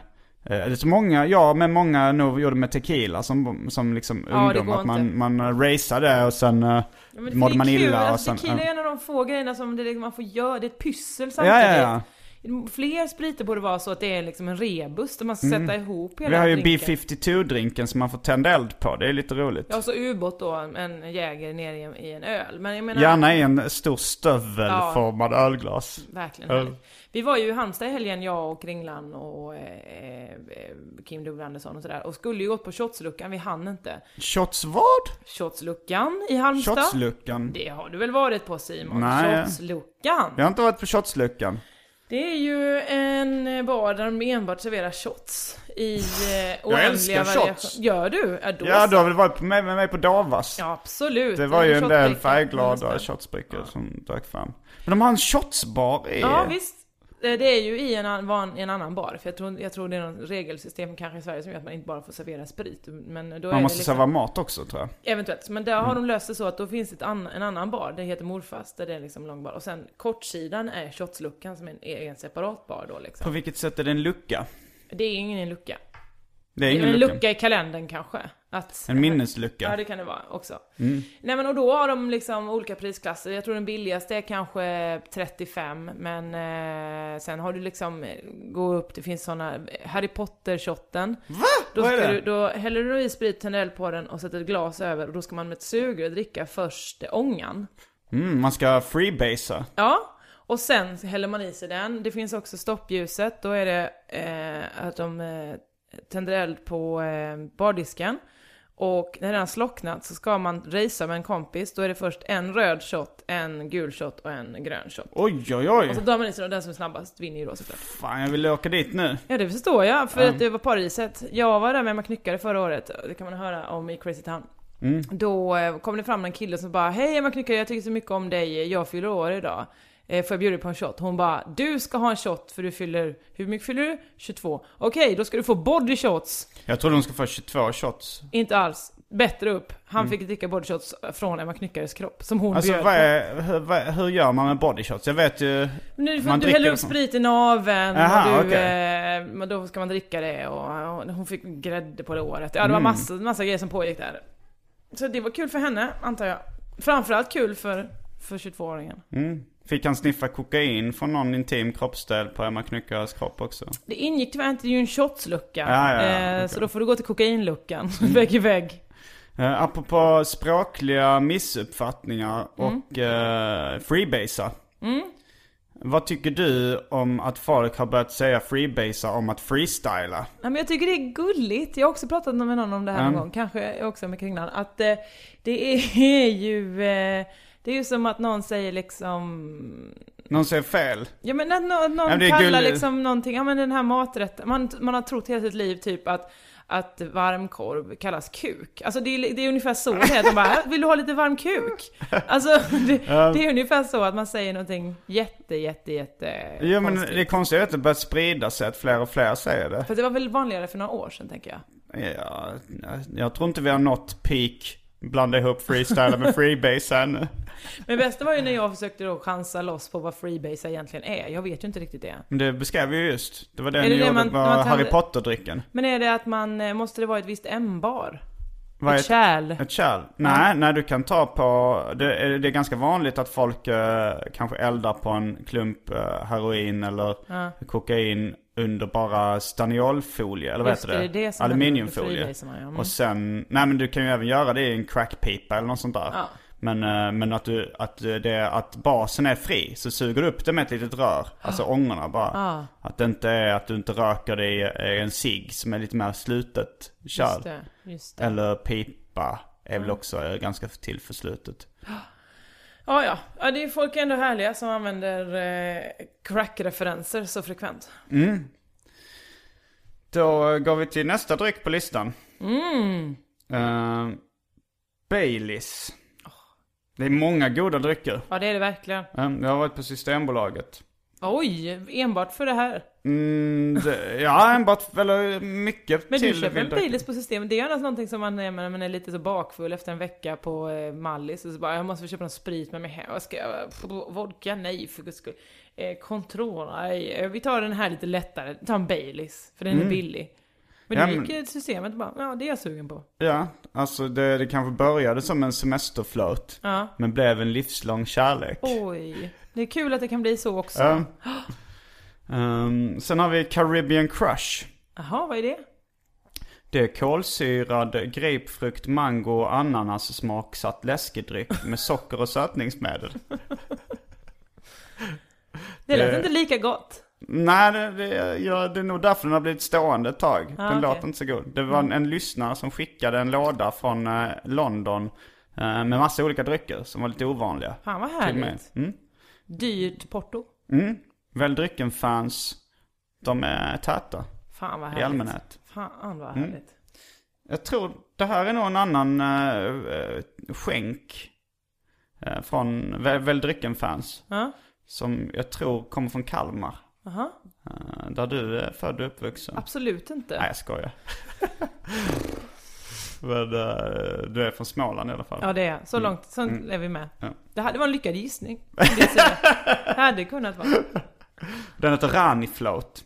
[SPEAKER 1] eh, eller så många, ja men många nog gjorde med tequila som, som liksom
[SPEAKER 2] Ja, det
[SPEAKER 1] ungdom.
[SPEAKER 2] går
[SPEAKER 1] Att man,
[SPEAKER 2] inte.
[SPEAKER 1] man raceade och sen eh,
[SPEAKER 2] Ja, men det
[SPEAKER 1] mådde
[SPEAKER 2] är
[SPEAKER 1] man
[SPEAKER 2] kul.
[SPEAKER 1] illa och
[SPEAKER 2] Alltså,
[SPEAKER 1] sen...
[SPEAKER 2] tequila är
[SPEAKER 1] ja.
[SPEAKER 2] en av de få grejerna som det, liksom- man får göra, det är ett pyssel
[SPEAKER 1] Ja,
[SPEAKER 2] samtidigt.
[SPEAKER 1] ja, ja.
[SPEAKER 2] Fler spriter borde vara så att det är liksom en rebus där man ska sätta ihop hela
[SPEAKER 1] Mm. Vi har ju
[SPEAKER 2] drinken.
[SPEAKER 1] B52-drinken som man får tända eld på, det är lite roligt.
[SPEAKER 2] Ja, så ubåt då, en jäger nere i en, i en öl. Men jag menar,
[SPEAKER 1] Gärna i en stor stövelformad ölglas.
[SPEAKER 2] verkligen
[SPEAKER 1] Öl.
[SPEAKER 2] härligt. Vi var ju i Halmstad i helgen, jag och Kringlan och eh, eh, Kim W Andersson och sådär. Och skulle ju gått på shotsluckan, vi hann inte.
[SPEAKER 1] Shots vad?
[SPEAKER 2] Shotsluckan i Halmstad.
[SPEAKER 1] Shotsluckan.
[SPEAKER 2] Det har du väl varit på Simon?
[SPEAKER 1] Nej.
[SPEAKER 2] Shotsluckan.
[SPEAKER 1] Jag har inte varit på shotsluckan.
[SPEAKER 2] Det är ju en bar där de enbart serverar shots i eh,
[SPEAKER 1] älskar
[SPEAKER 2] oändliga
[SPEAKER 1] shots.
[SPEAKER 2] variationer. Gör du? Ja, då
[SPEAKER 1] Ja,
[SPEAKER 2] så.
[SPEAKER 1] du har väl varit med, med mig på Davas?
[SPEAKER 2] ja absolut.
[SPEAKER 1] Det var ju en del
[SPEAKER 2] shotbricka.
[SPEAKER 1] färgglada shotsbrickor som dök fram. Men de har en shotsbar i...
[SPEAKER 2] Ja, visst. Eh, Det är ju i en, an- van, i en annan bar, för jag tror, jag tror det är något regelsystem kanske i Sverige som gör att man inte bara får servera sprit. Men då är
[SPEAKER 1] Man måste
[SPEAKER 2] det liksom,
[SPEAKER 1] serva Mm. mat också tror jag.
[SPEAKER 2] Eventuellt. Men där har de löst det så att då finns ett an, en annan bar, det heter Morfast, där det är liksom långbar. Och sen kortsidan är shotsluckan som är en, är en separat bar då liksom.
[SPEAKER 1] På vilket sätt är det en lucka?
[SPEAKER 2] Det är ingen lucka.
[SPEAKER 1] Det är
[SPEAKER 2] Det är
[SPEAKER 1] ingen
[SPEAKER 2] en
[SPEAKER 1] lucka.
[SPEAKER 2] lucka i kalendern kanske. Att,
[SPEAKER 1] En
[SPEAKER 2] Ja
[SPEAKER 1] minneslucka.
[SPEAKER 2] det kan det vara också.
[SPEAKER 1] Mm.
[SPEAKER 2] Nej men och då har de liksom olika prisklasser. Jag tror den billigaste är kanske 35 men eh, sen har du liksom, eh, gå upp, det finns såna Harry Potter-shotten. Va? Då,
[SPEAKER 1] Vad är
[SPEAKER 2] ska
[SPEAKER 1] det?
[SPEAKER 2] du, då häller du i sprit, tänder eld på den och sätter ett glas över och då ska man med ett sugrör dricka först eh, ångan.
[SPEAKER 1] Mm, man ska freebasea.
[SPEAKER 2] Ja, och sen så häller man i sig den. Det finns också stoppljuset. Då är det eh, att de eh, tänder eld på eh, bardisken. Och när den har slocknat så ska man racea med en kompis. Då är det först en röd shot, en gul shot och en grön shot.
[SPEAKER 1] Oj, oj,
[SPEAKER 2] Och så
[SPEAKER 1] oj.
[SPEAKER 2] drar man i sig den, den som är snabbast vinner ju då såklart.
[SPEAKER 1] Fan, jag vill åka dit nu.
[SPEAKER 2] Ja det förstår jag, för att det var paradiset. Jag var där med Emma Knyckare förra året, det kan man höra om i Crazy Town.
[SPEAKER 1] Mm.
[SPEAKER 2] Då eh, kom det fram en kille som bara Hej Emma Knyckare, jag tycker så mycket om dig, jag fyller år idag. Eh, Får jag bjuda dig på en shot? Hon bara Du ska ha en shot för du fyller, hur mycket fyller du? 22. Okej, då ska du få body shots.
[SPEAKER 1] Jag trodde de skulle få 22 shots.
[SPEAKER 2] Inte alls. Bättre upp. Han fick dricka body shots från Emma Knyckares kropp som hon
[SPEAKER 1] Mm. Alltså
[SPEAKER 2] bjöd
[SPEAKER 1] vad
[SPEAKER 2] på.
[SPEAKER 1] är, hur, vad, hur gör man med body shots? Jag vet ju...
[SPEAKER 2] Nu får
[SPEAKER 1] Man
[SPEAKER 2] du
[SPEAKER 1] dricker
[SPEAKER 2] häller upp
[SPEAKER 1] liksom.
[SPEAKER 2] sprit i naveln
[SPEAKER 1] Aha,
[SPEAKER 2] och du,
[SPEAKER 1] okej.
[SPEAKER 2] eh, men då ska man dricka det och, och hon fick grädde på det året. Ja det
[SPEAKER 1] Mm.
[SPEAKER 2] var massa, massa grejer som pågick där. Så det var kul för henne, antar jag. Framförallt kul för, för 22-åringen.
[SPEAKER 1] mm. Fick han sniffa kokain från någon intim kroppsdel på Emma Knyckares kropp också?
[SPEAKER 2] Det ingick tyvärr inte, det är ju en shotslucka. Eh,
[SPEAKER 1] Ja, ja, ja, okej. Mm.
[SPEAKER 2] Så då får du gå till kokainluckan, vägg i vägg.
[SPEAKER 1] Eh, apropå språkliga missuppfattningar
[SPEAKER 2] Mm.
[SPEAKER 1] och eh, freebasea. Vad tycker du om att folk har börjat säga freebasea om att freestyla?
[SPEAKER 2] Ja, men jag tycker det är gulligt. Jag har också pratat med någon om det här någon gång, kanske också med Kringlan. Att eh, det är ju... Eh, det är ju som att någon säger liksom...
[SPEAKER 1] Någon säger fel?
[SPEAKER 2] Ja men att nå- någon
[SPEAKER 1] men det är
[SPEAKER 2] kallar
[SPEAKER 1] gulligt.
[SPEAKER 2] liksom någonting, ja men den här maträtten, man, man har trott hela sitt liv typ att, att varmkorv kallas kuk. Alltså det är, li- det är ungefär så det är, de bara "Äh, vill du ha lite varm kuk? Alltså det, det är ungefär så att man säger någonting jätte jätte jätte
[SPEAKER 1] Ja men
[SPEAKER 2] konstigt.
[SPEAKER 1] det är konstigt att det börjat sprida sig att fler och fler säger det.
[SPEAKER 2] För det var väl vanligare för några år sedan tänker jag.
[SPEAKER 1] Ja, jag tror inte vi har nått peak blanda ihop freestyla med freebasea ännu.
[SPEAKER 2] Men bästa var ju när jag försökte då chansa loss på vad freebase egentligen är, jag vet ju inte riktigt det.
[SPEAKER 1] Men det beskrev vi ju just. Det var det
[SPEAKER 2] Är
[SPEAKER 1] ni
[SPEAKER 2] det det
[SPEAKER 1] gjorde
[SPEAKER 2] man-
[SPEAKER 1] med
[SPEAKER 2] man tänder-
[SPEAKER 1] Harry Potter-drycken.
[SPEAKER 2] Men är det att man, eh, måste det vara ett visst M-bar?
[SPEAKER 1] Vad är-
[SPEAKER 2] Ett kärl?
[SPEAKER 1] Ett kärl? Nej, nej du kan ta på, det är, det är ganska vanligt att folk eh, kanske eldar på en klump eh, heroin eller kokain under bara staniolfolie, eller vad
[SPEAKER 2] Just
[SPEAKER 1] heter det?
[SPEAKER 2] det, det är det som händer
[SPEAKER 1] Aluminiumfolie.
[SPEAKER 2] med freebaserna, ja. Mm.
[SPEAKER 1] Och sen, nej men du kan ju även göra det i en crackpipa eller något sånt där. Men, eh, men att, du, att, eh, det, att basen är fri, så suger du upp det med ett litet rör. Alltså
[SPEAKER 2] Ah.
[SPEAKER 1] ångorna bara. Att det inte är att du inte röker det i, i en cigg som är lite mer slutet kärl.
[SPEAKER 2] Just det, just det.
[SPEAKER 1] Eller pipa är väl också eh, ganska till för slutet.
[SPEAKER 2] Ja, ja. ja det är folk är ändå härliga som använder eh, crack-referenser så frekvent.
[SPEAKER 1] Då eh, går vi till nästa dryck på listan. Mm. Baileys. Det är många goda drycker.
[SPEAKER 2] Ja, det är det verkligen.
[SPEAKER 1] Eh, Jag har varit på Systembolaget.
[SPEAKER 2] Oj, enbart för det här.
[SPEAKER 1] Mm, det, ja, en bat, eller eh, mycket
[SPEAKER 2] Men du
[SPEAKER 1] till
[SPEAKER 2] köper en
[SPEAKER 1] Wilder.
[SPEAKER 2] Baileys på systemet, det är ju annars någonting som man är när man är lite så bakfull efter en vecka på eh, Mallis och så bara jag måste få köpa någon sprit med mig hem, vad ska jag, pff, vodka, nej för guds skull. Eh, Control, nej, Eh, vi tar den här lite lättare, ta en Baileys, för den är billig. Men
[SPEAKER 1] Mm. Ja,
[SPEAKER 2] nu
[SPEAKER 1] men-
[SPEAKER 2] gick men... systemet och bara, ja det är jag sugen på.
[SPEAKER 1] Ja, alltså det, det kanske började som en semesterflört.
[SPEAKER 2] Ja.
[SPEAKER 1] Men blev en livslång kärlek.
[SPEAKER 2] Oj, det är kul att det kan bli så också.
[SPEAKER 1] Ja. Ehm, sen har vi Caribbean Crush.
[SPEAKER 2] Jaha, vad är det?
[SPEAKER 1] Det är kolsyrad grapefrukt, mango och ananas smaksatt läskedryck med socker och sötningsmedel.
[SPEAKER 2] Det lät
[SPEAKER 1] Eh,
[SPEAKER 2] inte lika gott.
[SPEAKER 1] Nej, det, det, ja, det är nog därför den har blivit stående ett tag. den
[SPEAKER 2] Ah, okej. Mm.
[SPEAKER 1] låter inte så god. Det var en, en lyssnare som skickade en låda från eh, London eh, med massa olika drycker som var lite ovanliga.
[SPEAKER 2] Fan vad
[SPEAKER 1] till mig.
[SPEAKER 2] härligt.
[SPEAKER 1] Mm.
[SPEAKER 2] Dyrt porto.
[SPEAKER 1] Väldrycken-fans, de är täta
[SPEAKER 2] Fan vad
[SPEAKER 1] i Mm.
[SPEAKER 2] härligt.
[SPEAKER 1] allmänhet.
[SPEAKER 2] Fan vad härligt.
[SPEAKER 1] Jag tror det här är nog en annan eh, eh, skänk eh, från Vä- Väldrycken-fans.
[SPEAKER 2] Ja.
[SPEAKER 1] Som jag tror kommer från Kalmar.
[SPEAKER 2] Aha.
[SPEAKER 1] eh, Där du är född och uppvuxen.
[SPEAKER 2] Absolut inte.
[SPEAKER 1] Nej jag skojar. Men eh, du är från Småland i alla fall.
[SPEAKER 2] Ja det är Så långt, sånt är vi med.
[SPEAKER 1] Mm. Ja.
[SPEAKER 2] Det, här, det var en lyckad gissning. det hade kunnat vara.
[SPEAKER 1] Den heter Rani Float.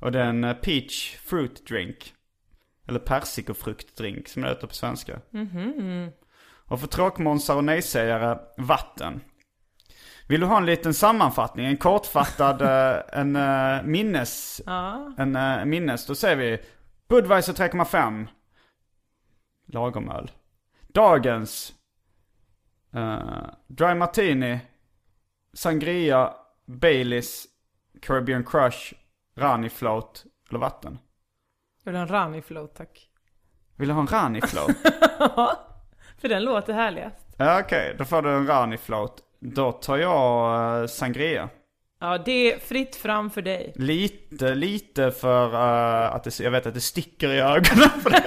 [SPEAKER 1] Och det är en eh, peach fruit drink. Eller persikofruktdrink som det heter på svenska. Och för tråkmånsar och nejsägare, vatten. Vill du ha en liten sammanfattning? En kortfattad, eh, en eh, minnes... En eh, minnes, då säger vi Budweiser 3,5. Lagomöl. Dagens. eh, dry Martini. Sangria. Baileys. Caribbean Crush. Rani Float. Eller vatten.
[SPEAKER 2] Jag vill ha en Rami float tack.
[SPEAKER 1] Vill du ha en Rani Float?
[SPEAKER 2] För den låter härligast.
[SPEAKER 1] Ja, Okej, då får du en Rani Float. Då tar jag eh, Sangria.
[SPEAKER 2] Ja det är fritt fram för dig.
[SPEAKER 1] Lite, lite för eh, att det, jag vet att det sticker i ögonen.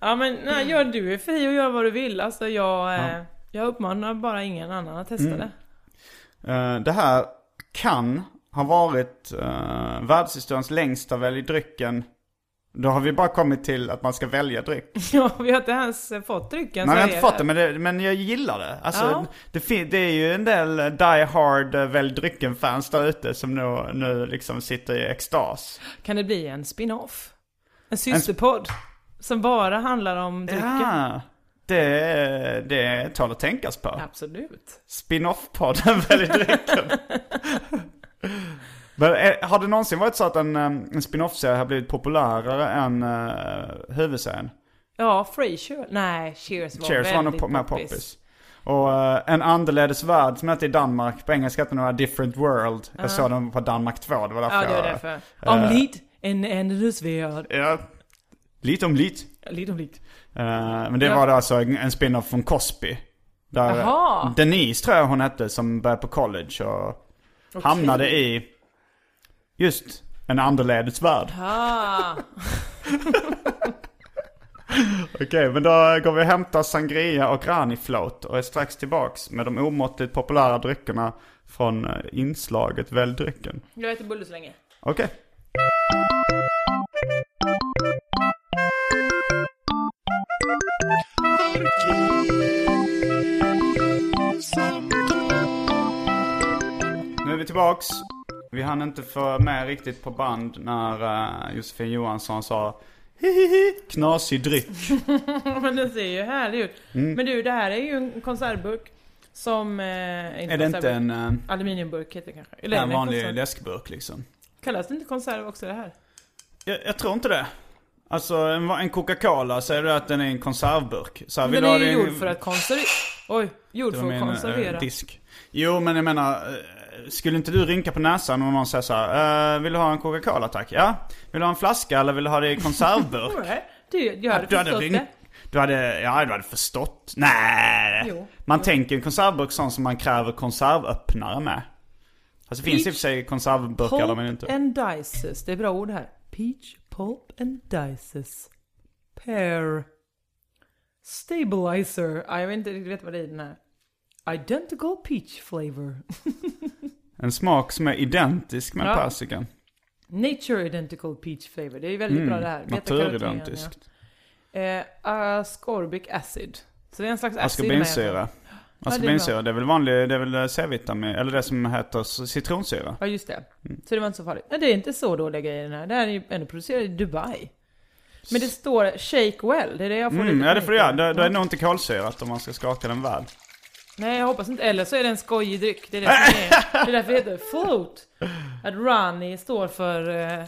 [SPEAKER 2] Ja men nej, gör, du är fri och gör vad du vill. Alltså jag, eh, jag uppmanar bara ingen annan att
[SPEAKER 1] Mm.
[SPEAKER 2] testa det.
[SPEAKER 1] Eh, det här kan ha varit uh, världshistoriens längsta välj drycken. Då har vi bara kommit till att man ska välja dryck.
[SPEAKER 2] Ja, vi har inte ens eh, fått drycken.
[SPEAKER 1] Nej, jag har
[SPEAKER 2] serverad.
[SPEAKER 1] inte fått det men, det, men jag gillar det. Alltså,
[SPEAKER 2] Ja.
[SPEAKER 1] det, fin- det är ju en del die hard eh, välj drycken-fans där ute som nu, nu liksom sitter i extas.
[SPEAKER 2] Kan det bli en spin-off? En systerpodd? Som bara handlar om drycken?
[SPEAKER 1] Ja, det, är- det tål att tänkas på.
[SPEAKER 2] Absolut.
[SPEAKER 1] Spin-off-podden välj drycken. Men eh, har det någonsin varit så att en, eh, en spin-off-serie har blivit populärare än uh, huvudserien?
[SPEAKER 2] Ja, Frasier. Nej, Cheers var
[SPEAKER 1] Cheers var nog
[SPEAKER 2] väldigt
[SPEAKER 1] po- mer
[SPEAKER 2] poppis.
[SPEAKER 1] poppis. Och eh, en andelädes värld som hette i Danmark, på engelska hette den A different world. Jag såg den på Danmark 2, det var därför
[SPEAKER 2] Ja, det
[SPEAKER 1] jag...
[SPEAKER 2] var därför.
[SPEAKER 1] Eh.
[SPEAKER 2] Om lit, en ändlös värld.
[SPEAKER 1] Ja, lite om lite.
[SPEAKER 2] Lite om lit.
[SPEAKER 1] Eh, men det
[SPEAKER 2] Ja.
[SPEAKER 1] var då alltså en, en spin-off från Cosby. Där
[SPEAKER 2] Jaha.
[SPEAKER 1] Denise tror jag hon hette som började på college och hamnade i just en andelädes värld.
[SPEAKER 2] Ah,
[SPEAKER 1] Okej, men då går vi och hämtar sangria och Rani Float och är strax tillbaks med de omåttligt populära dryckerna från eh, inslaget Välj drycken.
[SPEAKER 2] jag äter bulle så länge.
[SPEAKER 1] Okej. Nu är vi tillbaks. Vi hann inte få med riktigt på band när eh, Josefin Johansson sa Hihihi, knasig dryck.
[SPEAKER 2] Men den ser ju härlig ut.
[SPEAKER 1] Mm.
[SPEAKER 2] Men du, det här är ju en konservburk. Som... Eh,
[SPEAKER 1] Är det inte en, eh,
[SPEAKER 2] Aluminiumburk heter det kanske. Eller
[SPEAKER 1] en vanlig
[SPEAKER 2] konserv.
[SPEAKER 1] läskburk liksom?
[SPEAKER 2] Kallas det inte konserv också det här?
[SPEAKER 1] Jag, jag tror inte det. Alltså en, va- en Coca-Cola, säger du att den är en konservburk? Så här,
[SPEAKER 2] Men
[SPEAKER 1] vill
[SPEAKER 2] den
[SPEAKER 1] du ha
[SPEAKER 2] är ju
[SPEAKER 1] din-
[SPEAKER 2] gjord för att konservera. Oj, gjord
[SPEAKER 1] till och
[SPEAKER 2] för att
[SPEAKER 1] med en, eh,
[SPEAKER 2] konservera.
[SPEAKER 1] disk. Jo men jag menar, eh, skulle inte du rynka på näsan om någon säger så här, eh, vill du ha en Coca-Cola tack? Ja. Vill du ha en flaska eller vill du ha det i konservburk?
[SPEAKER 2] Nej, du, jag hade förstått
[SPEAKER 1] rynk-
[SPEAKER 2] det.
[SPEAKER 1] Du hade, ja du hade förstått. Nej.
[SPEAKER 2] Jo.
[SPEAKER 1] Man tänker en konservburk sån som man kräver konservöppnare med. Alltså det finns i och för sig konservburkar, de är ju
[SPEAKER 2] Pulp
[SPEAKER 1] inte...
[SPEAKER 2] and dices. Det är bra ord här. Peach, pulp and dices. Pear. Ah, Stabilizer. Ja, Jag vet inte riktigt vad det är i den här. Identical peach flavor.
[SPEAKER 1] En smak som är identisk med
[SPEAKER 2] Ja.
[SPEAKER 1] persikan.
[SPEAKER 2] Nature Identical Peach Flavor. Det är ju väldigt
[SPEAKER 1] Mm,
[SPEAKER 2] bra det här. Beta-karotenen,
[SPEAKER 1] Naturidentiskt.
[SPEAKER 2] Ja. Eh, ascorbic Acid. Så det är en slags acid med.
[SPEAKER 1] Askorbinsyra. Askorbinsyra, det är väl vanlig, det är väl C-vitamin, eller det som heter c- citronsyra.
[SPEAKER 2] Ja just det.
[SPEAKER 1] Mm.
[SPEAKER 2] Så det var inte så farligt. Nej det är inte så dåliga grejer den här. Det här är ju ändå producerad i Dubai. Men det står shake well. Det är det jag får
[SPEAKER 1] Mm,
[SPEAKER 2] lite
[SPEAKER 1] ja det får du göra.
[SPEAKER 2] panik
[SPEAKER 1] Det,
[SPEAKER 2] över.
[SPEAKER 1] det är nog inte kolsyrat om man ska skaka den väl.
[SPEAKER 2] Nej jag hoppas inte. Eller så är det en skojig dryck. Det är det som är. Det är därför det heter float. Att Rani står för eh,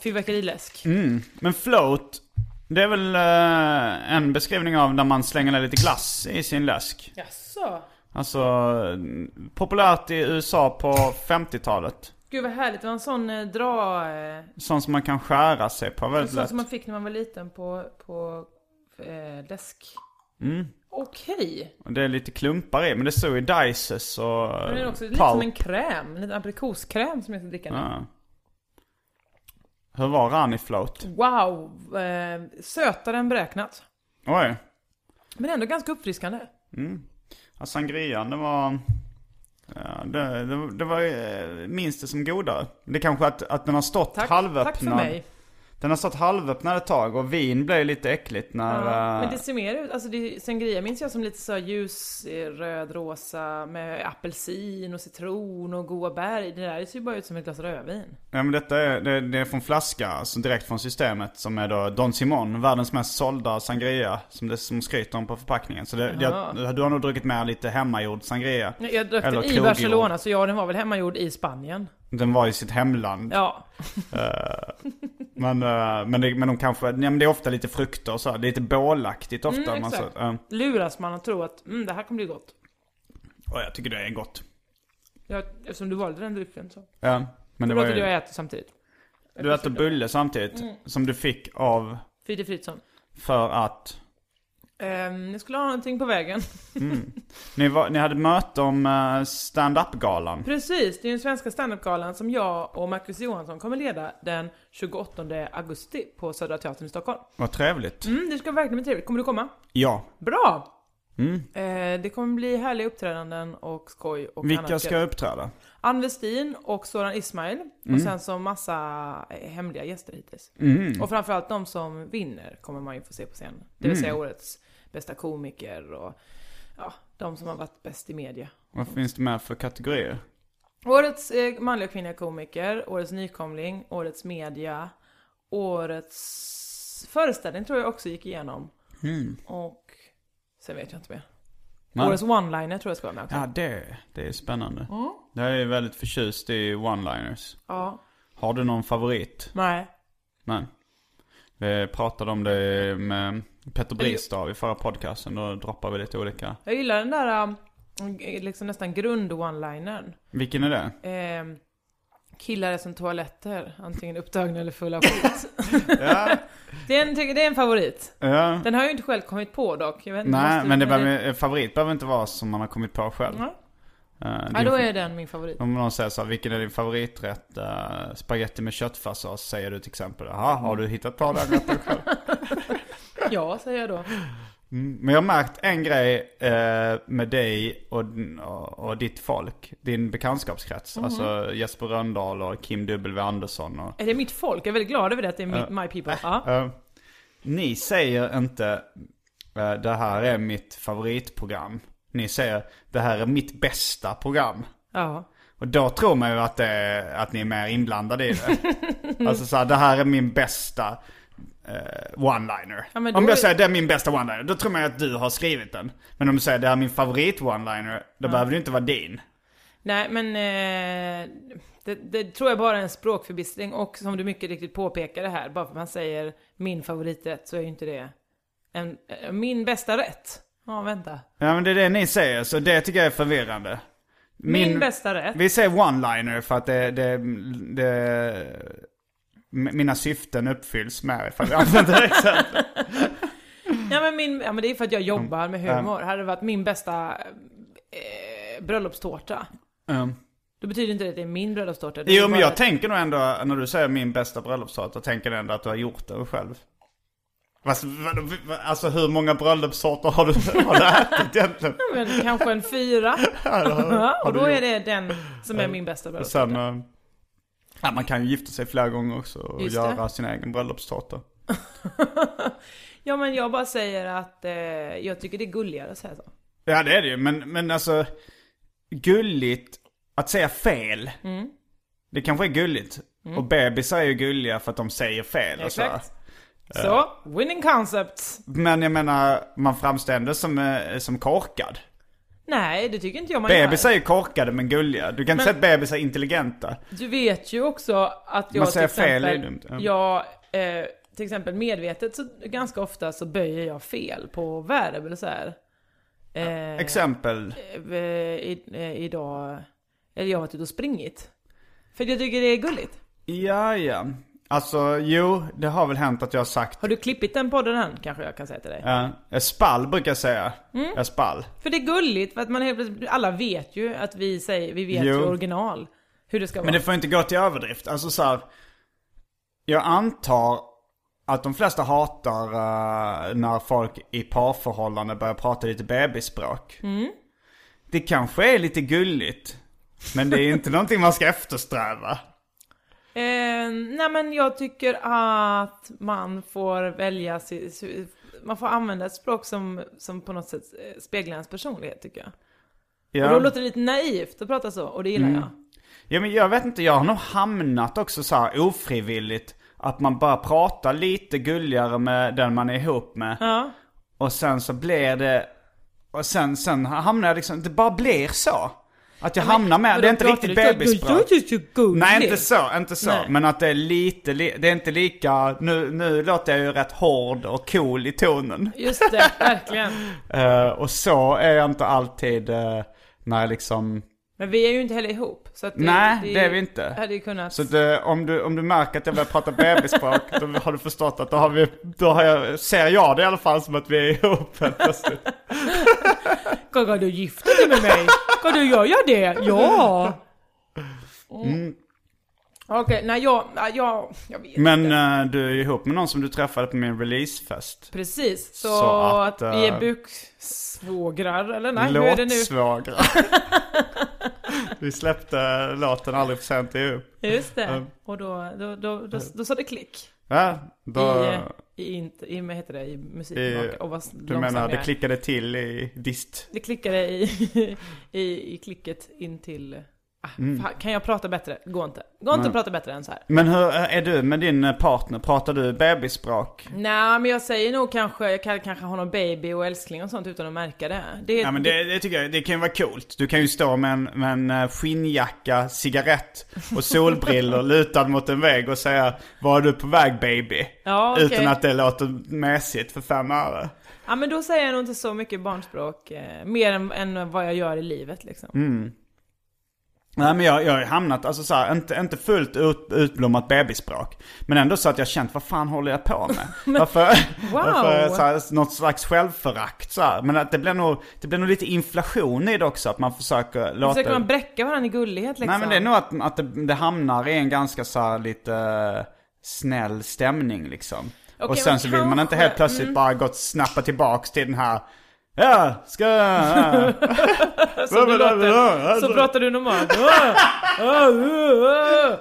[SPEAKER 2] fyrverkeriläsk.
[SPEAKER 1] Mm. Men float, det är väl eh, en beskrivning av när man slänger ner lite glass i sin läsk.
[SPEAKER 2] Jaså?
[SPEAKER 1] Alltså, eh, populärt i USA på 50-talet.
[SPEAKER 2] Gud vad härligt. Det var en sån eh, dra... Eh,
[SPEAKER 1] Sånt som man kan skära sig på väldigt
[SPEAKER 2] sån
[SPEAKER 1] lätt.
[SPEAKER 2] som man fick när man var liten på, på eh, läsk.
[SPEAKER 1] Mm.
[SPEAKER 2] Okej.
[SPEAKER 1] Och Det är lite klumpar i, men det står ju Dices och
[SPEAKER 2] Men det är också lite
[SPEAKER 1] Pulp.
[SPEAKER 2] som en kräm. En liten aprikoskräm som jag ska dricka nu.
[SPEAKER 1] Ja. Hur var Rani float?
[SPEAKER 2] Wow, eh, sötare än beräknat.
[SPEAKER 1] Oj.
[SPEAKER 2] Men ändå ganska uppfriskande.
[SPEAKER 1] Ja, sangrian, det var... Ja, det, det, det var eh, minst det som godare. Det är kanske att, att den har stått
[SPEAKER 2] Tack,
[SPEAKER 1] halvöppnad.
[SPEAKER 2] tack för mig.
[SPEAKER 1] Den har stått halvöppnad ett tag och vin blev ju lite äckligt när... eh,
[SPEAKER 2] Men det ser mer ut, alltså det, sangria minns jag som lite så här ljus eh, röd, rosa med apelsin och citron och goda bär i. Det där ser ju bara ut som ett glas rödvin.
[SPEAKER 1] Ja men detta är, det, det är från flaska, alltså direkt från systemet som är då Don Simon, världens mest sålda sangria som det som skryter om på förpackningen. Så det, jag, du har nog druckit med lite hemmagjord sangria.
[SPEAKER 2] Nej, Jag drack
[SPEAKER 1] Eller
[SPEAKER 2] den i
[SPEAKER 1] kroggjord.
[SPEAKER 2] Barcelona, så ja den var väl hemmagjord i Spanien.
[SPEAKER 1] Den var i sitt hemland.
[SPEAKER 2] Ja,
[SPEAKER 1] Men, eh, men, det, men de kanske, ja, men det är ofta lite frukter och så, här, lite bålaktigt ofta.
[SPEAKER 2] Mm,
[SPEAKER 1] man så,
[SPEAKER 2] exakt.
[SPEAKER 1] eh,
[SPEAKER 2] luras man att tro att mm, det här kommer bli gott.
[SPEAKER 1] och jag tycker det är gott.
[SPEAKER 2] Jag, eftersom du valde den drycken så.
[SPEAKER 1] Ja, men det
[SPEAKER 2] Det
[SPEAKER 1] var
[SPEAKER 2] låter
[SPEAKER 1] ju,
[SPEAKER 2] jag äta samtidigt.
[SPEAKER 1] du äter bulle samtidigt
[SPEAKER 2] Mm.
[SPEAKER 1] som du fick av
[SPEAKER 2] Fide Fritzson.
[SPEAKER 1] för att
[SPEAKER 2] Um, jag skulle ha någonting på vägen.
[SPEAKER 1] ni, var, ni hade möte om eh, stand-up-galan.
[SPEAKER 2] Precis, det är den svenska standupgalan som jag och Marcus Johansson kommer leda den 28 augusti på Södra Teatern i Stockholm.
[SPEAKER 1] Vad trevligt.
[SPEAKER 2] Mm, det ska verkligen bli trevligt. Kommer du komma?
[SPEAKER 1] Ja.
[SPEAKER 2] Bra!
[SPEAKER 1] Mm.
[SPEAKER 2] Eh, det kommer bli härliga uppträdanden och skoj och
[SPEAKER 1] Vilka
[SPEAKER 2] annat
[SPEAKER 1] ska
[SPEAKER 2] kul.
[SPEAKER 1] uppträda?
[SPEAKER 2] Ann Westin och Soran Ismail.
[SPEAKER 1] Mm.
[SPEAKER 2] Och sen så massa eh, hemliga gäster hittills.
[SPEAKER 1] Mm.
[SPEAKER 2] Och framförallt de som vinner kommer man ju få se på scenen. Det vill säga årets bästa komiker och ja, de som har varit bäst i media.
[SPEAKER 1] Vad finns det med för kategorier?
[SPEAKER 2] Årets eh, manliga och kvinnliga komiker, årets nykomling, årets media, årets föreställning tror jag också gick igenom. Och sen vet jag inte mer.
[SPEAKER 1] Hmm. Nej.
[SPEAKER 2] Årets one-liner tror jag ska vara med också.
[SPEAKER 1] Ja, det, det är spännande. Jag är väldigt förtjust i one-liners.
[SPEAKER 2] Ja.
[SPEAKER 1] Har du någon favorit?
[SPEAKER 2] Nej.
[SPEAKER 1] Nej. Vi pratade om det med Petter Bristav i förra podcasten. Då droppade vi lite olika.
[SPEAKER 2] Jag gillar den där um, g- liksom nästan grund-one-linern.
[SPEAKER 1] Vilken är det?
[SPEAKER 2] Ehm, killar är som toaletter, antingen upptagna eller fulla av skit. det, är en, tycker- det är en favorit.
[SPEAKER 1] Ja.
[SPEAKER 2] Den har jag ju inte själv kommit på dock. Jag vet inte,
[SPEAKER 1] Nej,
[SPEAKER 2] måste-
[SPEAKER 1] men det behöver, eh, favorit behöver inte vara som man har kommit på själv.
[SPEAKER 2] Ja.
[SPEAKER 1] Eh,
[SPEAKER 2] Mm. Ja,
[SPEAKER 1] din-
[SPEAKER 2] då är den min favorit.
[SPEAKER 1] Om någon säger så här, vilken är din favoriträtt? Uh, spaghetti med köttfärssås säger du till exempel. Jaha, har du hittat på den rätten själv?
[SPEAKER 2] Ja, säger jag då.
[SPEAKER 1] Men jag har märkt en grej eh, med dig och, och, och ditt folk. Din bekantskapskrets. Alltså Jesper Röndahl och Kim W Andersson. Och,
[SPEAKER 2] Är det mitt folk? Jag är väldigt glad över det, att det är mitt, my people. Ja.
[SPEAKER 1] eh, ni säger inte eh, det här är mitt favoritprogram. Ni säger det här är mitt bästa program.
[SPEAKER 2] ja.
[SPEAKER 1] Och då tror man ju att, det, är- att ni är mer inblandade i det. alltså så här, det här är min bästa eh, one-liner.
[SPEAKER 2] Ja, men då
[SPEAKER 1] om jag
[SPEAKER 2] är-
[SPEAKER 1] säger det är min bästa one-liner, då tror man ju att du har skrivit den. Men om du säger det här är min favorit one-liner, då behöver det ju inte vara din.
[SPEAKER 2] Nej, men eh, det, det tror jag bara är en språkförbistring. Och som du mycket riktigt påpekade här, bara för att man säger min favoriträtt så är ju inte det en, eh, min bästa rätt. Ja, vänta.
[SPEAKER 1] Ja men det är det ni säger, så det tycker jag är förvirrande.
[SPEAKER 2] Min, bästa rätt.
[SPEAKER 1] Vi säger one-liner för att det, det, det, m- mina syften uppfylls med ifall vi använder det exemplet.
[SPEAKER 2] Ja, men min, Mm. ja, men det är för att jag jobbar med humor. Hade det varit min bästa eh, bröllopstårta,
[SPEAKER 1] Mm.
[SPEAKER 2] då betyder inte det att det är min bröllopstårta. Det är
[SPEAKER 1] Jo men
[SPEAKER 2] bara
[SPEAKER 1] jag
[SPEAKER 2] att-
[SPEAKER 1] tänker nog ändå, när du säger min bästa bröllopsdag, då tänker jag ändå att du har gjort den själv. Fast, vad- vad- Alltså hur många bröllopssorter har du, har du ätit egentligen?
[SPEAKER 2] Men kanske en fyra. och då är det den som är min bästa
[SPEAKER 1] Och
[SPEAKER 2] bröllopstårta.
[SPEAKER 1] sen, eh, ja, man kan ju gifta sig flera gånger också och
[SPEAKER 2] Just det.
[SPEAKER 1] göra sin egen bröllopstårta.
[SPEAKER 2] Ja men jag bara säger att eh, jag tycker det är gulligare att säga så.
[SPEAKER 1] Ja det är det ju, men, men alltså gulligt att säga fel.
[SPEAKER 2] Mm.
[SPEAKER 1] Det kanske är gulligt. Och bebisar är ju gulliga för att de säger fel och så.
[SPEAKER 2] Exakt.
[SPEAKER 1] eh.
[SPEAKER 2] Så, winning concept.
[SPEAKER 1] Men jag menar, man framstår ändå som, eh, som korkad.
[SPEAKER 2] Nej, det tycker inte jag man
[SPEAKER 1] Bebisar
[SPEAKER 2] gör.
[SPEAKER 1] är ju korkade men gulliga. Du kan inte säga att bebisar är intelligenta.
[SPEAKER 2] Du vet ju också att jag
[SPEAKER 1] Man säger
[SPEAKER 2] till
[SPEAKER 1] fel,
[SPEAKER 2] exempel,
[SPEAKER 1] är det dumt.
[SPEAKER 2] jag, eh, till exempel medvetet så ganska ofta så böjer jag fel på verb eller så här. Eh,
[SPEAKER 1] Exempel.
[SPEAKER 2] eh, i, eh, idag, eller jag har varit ute och springit. För jag tycker det är gulligt.
[SPEAKER 1] Ja, ja. Alltså, jo, det har väl hänt att jag har sagt...
[SPEAKER 2] Har du klippit den podden än kanske jag kan säga till dig.
[SPEAKER 1] Ja, jag spall brukar jag säga.
[SPEAKER 2] Mm.
[SPEAKER 1] Jag spall.
[SPEAKER 2] För det är gulligt för att man helt plötsligt, alla vet ju att vi säger, vi vet
[SPEAKER 1] Jo.
[SPEAKER 2] ju original. Hur det ska
[SPEAKER 1] Men det
[SPEAKER 2] vara.
[SPEAKER 1] får inte gå till överdrift. Alltså så här, Jag antar att de flesta hatar eh, när folk i parförhållanden börjar prata lite bebisspråk.
[SPEAKER 2] Mm.
[SPEAKER 1] Det kanske är lite gulligt. Men det är inte någonting man ska eftersträva.
[SPEAKER 2] Eh, nej men jag tycker att man får välja, si- si- man får använda ett språk som, som på något sätt eh, speglar ens personlighet tycker jag.
[SPEAKER 1] Ja. Mm.
[SPEAKER 2] Och då låter det lite naivt att prata så, och det gillar jag.
[SPEAKER 1] Ja men jag vet inte, jag har nog hamnat också så här ofrivilligt. Att man bara pratar lite gulligare med den man är ihop med. Och sen så blir det... Och sen, sen hamnar jag liksom, det bara blir så. Att jag hamnar med, det är inte riktigt bebisspråk. Nej inte så, inte så.
[SPEAKER 2] Nej.
[SPEAKER 1] Men att det är lite, li- det är inte lika, nu, nu låter jag ju rätt hård och cool i tonen.
[SPEAKER 2] Just det, verkligen.
[SPEAKER 1] Eh, och så är jag inte alltid eh, när jag liksom
[SPEAKER 2] Men vi är ju inte heller ihop. Så att det,
[SPEAKER 1] Nej, det är vi inte.
[SPEAKER 2] Hade ju kunnat...
[SPEAKER 1] Så att, eh, om, du, om du märker att jag börjar prata bebisspråk, då har du förstått att då, har vi, då har jag, ser jag det i alla fall som att vi är ihop helt plötsligt.
[SPEAKER 2] Gaga, du gifte dig med mig? Gaga, du gör jag det? Ja!
[SPEAKER 1] Mm.
[SPEAKER 2] Mm. Okej, nej jag, nej, jag, jag vet
[SPEAKER 1] Men
[SPEAKER 2] inte.
[SPEAKER 1] eh, du är ju ihop med någon som du träffade på min releasefest.
[SPEAKER 2] Precis, så,
[SPEAKER 1] så att,
[SPEAKER 2] att, vi
[SPEAKER 1] eh,
[SPEAKER 2] är buksvågrar, eller nej, hur är det nu?
[SPEAKER 1] Låtsvågrar. vi släppte låten Aldrig för sent är upp.
[SPEAKER 2] Just
[SPEAKER 1] Eh.
[SPEAKER 2] det, och då, då, då, då, då, sa det klick.
[SPEAKER 1] Va?
[SPEAKER 2] I, eh,
[SPEAKER 1] Då,
[SPEAKER 2] i, inte, i, vad heter det, i
[SPEAKER 1] I-
[SPEAKER 2] musiken och, och vad
[SPEAKER 1] du menar det klickade till i dist?
[SPEAKER 2] Det klickade i, i, i klicket in till... Ah,
[SPEAKER 1] Mm.
[SPEAKER 2] fan, kan jag prata bättre? Gå inte. Gå inte att prata bättre än så här.
[SPEAKER 1] Men hur eh, är du med din eh, partner? Pratar du bebisspråk?
[SPEAKER 2] Nej, men jag säger nog kanske, jag kan, kanske ha någon baby och älskling och sånt utan att märka det. det,
[SPEAKER 1] Ja men
[SPEAKER 2] det
[SPEAKER 1] det, det tycker jag, det kan ju vara coolt. Du kan ju stå med en, med en eh, skinnjacka, cigarett och solbrillor lutad mot en vägg och säga Var är du på väg baby?
[SPEAKER 2] Ja, okej.
[SPEAKER 1] Utan att det låter mässigt för fem öre.
[SPEAKER 2] ja, men då säger jag nog inte så mycket barnspråk, eh, mer än, än vad jag gör i livet liksom.
[SPEAKER 1] Mm. Nej men jag, jag har ju hamnat, alltså så här, inte, inte fullt ut, utblommat bebisspråk. Men ändå så att jag känt, vad fan håller jag på med? varför,
[SPEAKER 2] Wow.
[SPEAKER 1] varför så här, något slags självförakt så här. Men att det blir nog, det blir nog lite inflation i det också, att man försöker låta...
[SPEAKER 2] Försöker man bräcka varandra i gullighet liksom?
[SPEAKER 1] Nej men det är nog att, att det, det hamnar i en ganska så här lite eh, snäll stämning liksom. och sen
[SPEAKER 2] men
[SPEAKER 1] så vill man inte
[SPEAKER 2] kanske- mm.
[SPEAKER 1] helt plötsligt bara gått snappa tillbaks till den här Ja, ska jag...
[SPEAKER 2] så, du låter,
[SPEAKER 1] Alltså-
[SPEAKER 2] så pratar du normalt. Ah, ah, ah,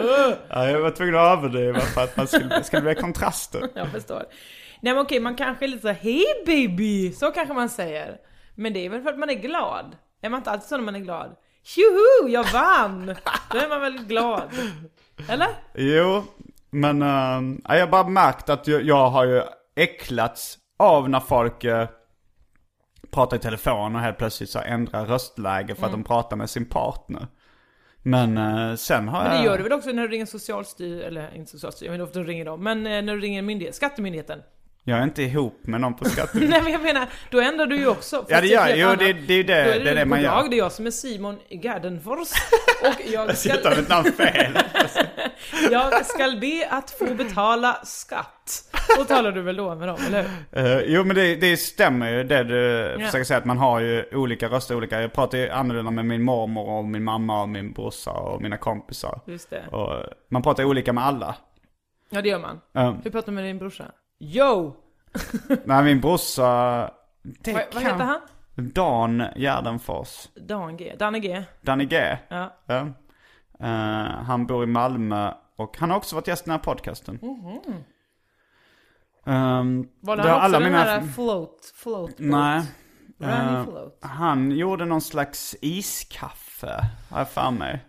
[SPEAKER 2] ah.
[SPEAKER 1] Ja, jag var tvungen att överdriva för att man skulle, skulle bli kontraster.
[SPEAKER 2] Jag förstår. Nej men okej, man kanske är lite så hej baby, så kanske man säger. Men det är väl för att man är glad? Är man inte alltid så när man är glad? Tjoho, jag vann! Då är man väldigt glad. Eller?
[SPEAKER 1] Jo, men eh, ja, jag har bara märkt att jag, jag har ju äcklats av när folk eh, pratar i telefon och helt plötsligt så ändrar röstläge för att
[SPEAKER 2] Mm.
[SPEAKER 1] de pratar med sin partner. Men eh, sen har
[SPEAKER 2] Men
[SPEAKER 1] jag...
[SPEAKER 2] det gör du väl också när du ringer socialstyrelsen, eller inte socialstyrelsen, men ofta du ringer dem. Men eh, när du ringer myndighet, skattemyndigheten.
[SPEAKER 1] Jag är inte ihop med någon på skatten.
[SPEAKER 2] Nej men jag menar, då ändrar du ju också. Fast
[SPEAKER 1] Ja, det gör
[SPEAKER 2] är ett
[SPEAKER 1] jag. Jo,
[SPEAKER 2] helt
[SPEAKER 1] det-
[SPEAKER 2] annat.
[SPEAKER 1] det är ju det-
[SPEAKER 2] Då
[SPEAKER 1] det är det man gör.
[SPEAKER 2] Goddag, det är jag som är Simon Gardenfors. Och jag
[SPEAKER 1] Jag hittar
[SPEAKER 2] ska,
[SPEAKER 1] mitt namn fel.
[SPEAKER 2] jag ska be att få betala skatt. Då talar du väl då med dem, eller hur?
[SPEAKER 1] Eh, jo men det, det stämmer ju det du
[SPEAKER 2] Ja.
[SPEAKER 1] försöker säga att man har ju olika röster olika. Jag pratar ju annorlunda med min mormor och min mamma och min brorsa och mina kompisar.
[SPEAKER 2] Just det.
[SPEAKER 1] Och eh, man pratar olika med alla.
[SPEAKER 2] Ja det gör man.
[SPEAKER 1] Eh,
[SPEAKER 2] Hur pratar du med din brorsa? Yo!
[SPEAKER 1] Nej, min brorsa... Det
[SPEAKER 2] Vad, vad heter han?
[SPEAKER 1] Dan Gärdenfors.
[SPEAKER 2] Dan G. Danne G.
[SPEAKER 1] Danny G.
[SPEAKER 2] Ja.
[SPEAKER 1] Ja. Eh, han bor i Malmö och han har också varit gäst i den här podcasten.
[SPEAKER 2] Mhm.
[SPEAKER 1] Ehm,
[SPEAKER 2] Valde
[SPEAKER 1] det
[SPEAKER 2] han
[SPEAKER 1] har
[SPEAKER 2] också
[SPEAKER 1] alla
[SPEAKER 2] den
[SPEAKER 1] mina-
[SPEAKER 2] här float, float boat?
[SPEAKER 1] Nej.
[SPEAKER 2] Var han i
[SPEAKER 1] Eh,
[SPEAKER 2] float?
[SPEAKER 1] han gjorde någon slags iskaffe, har jag för mig.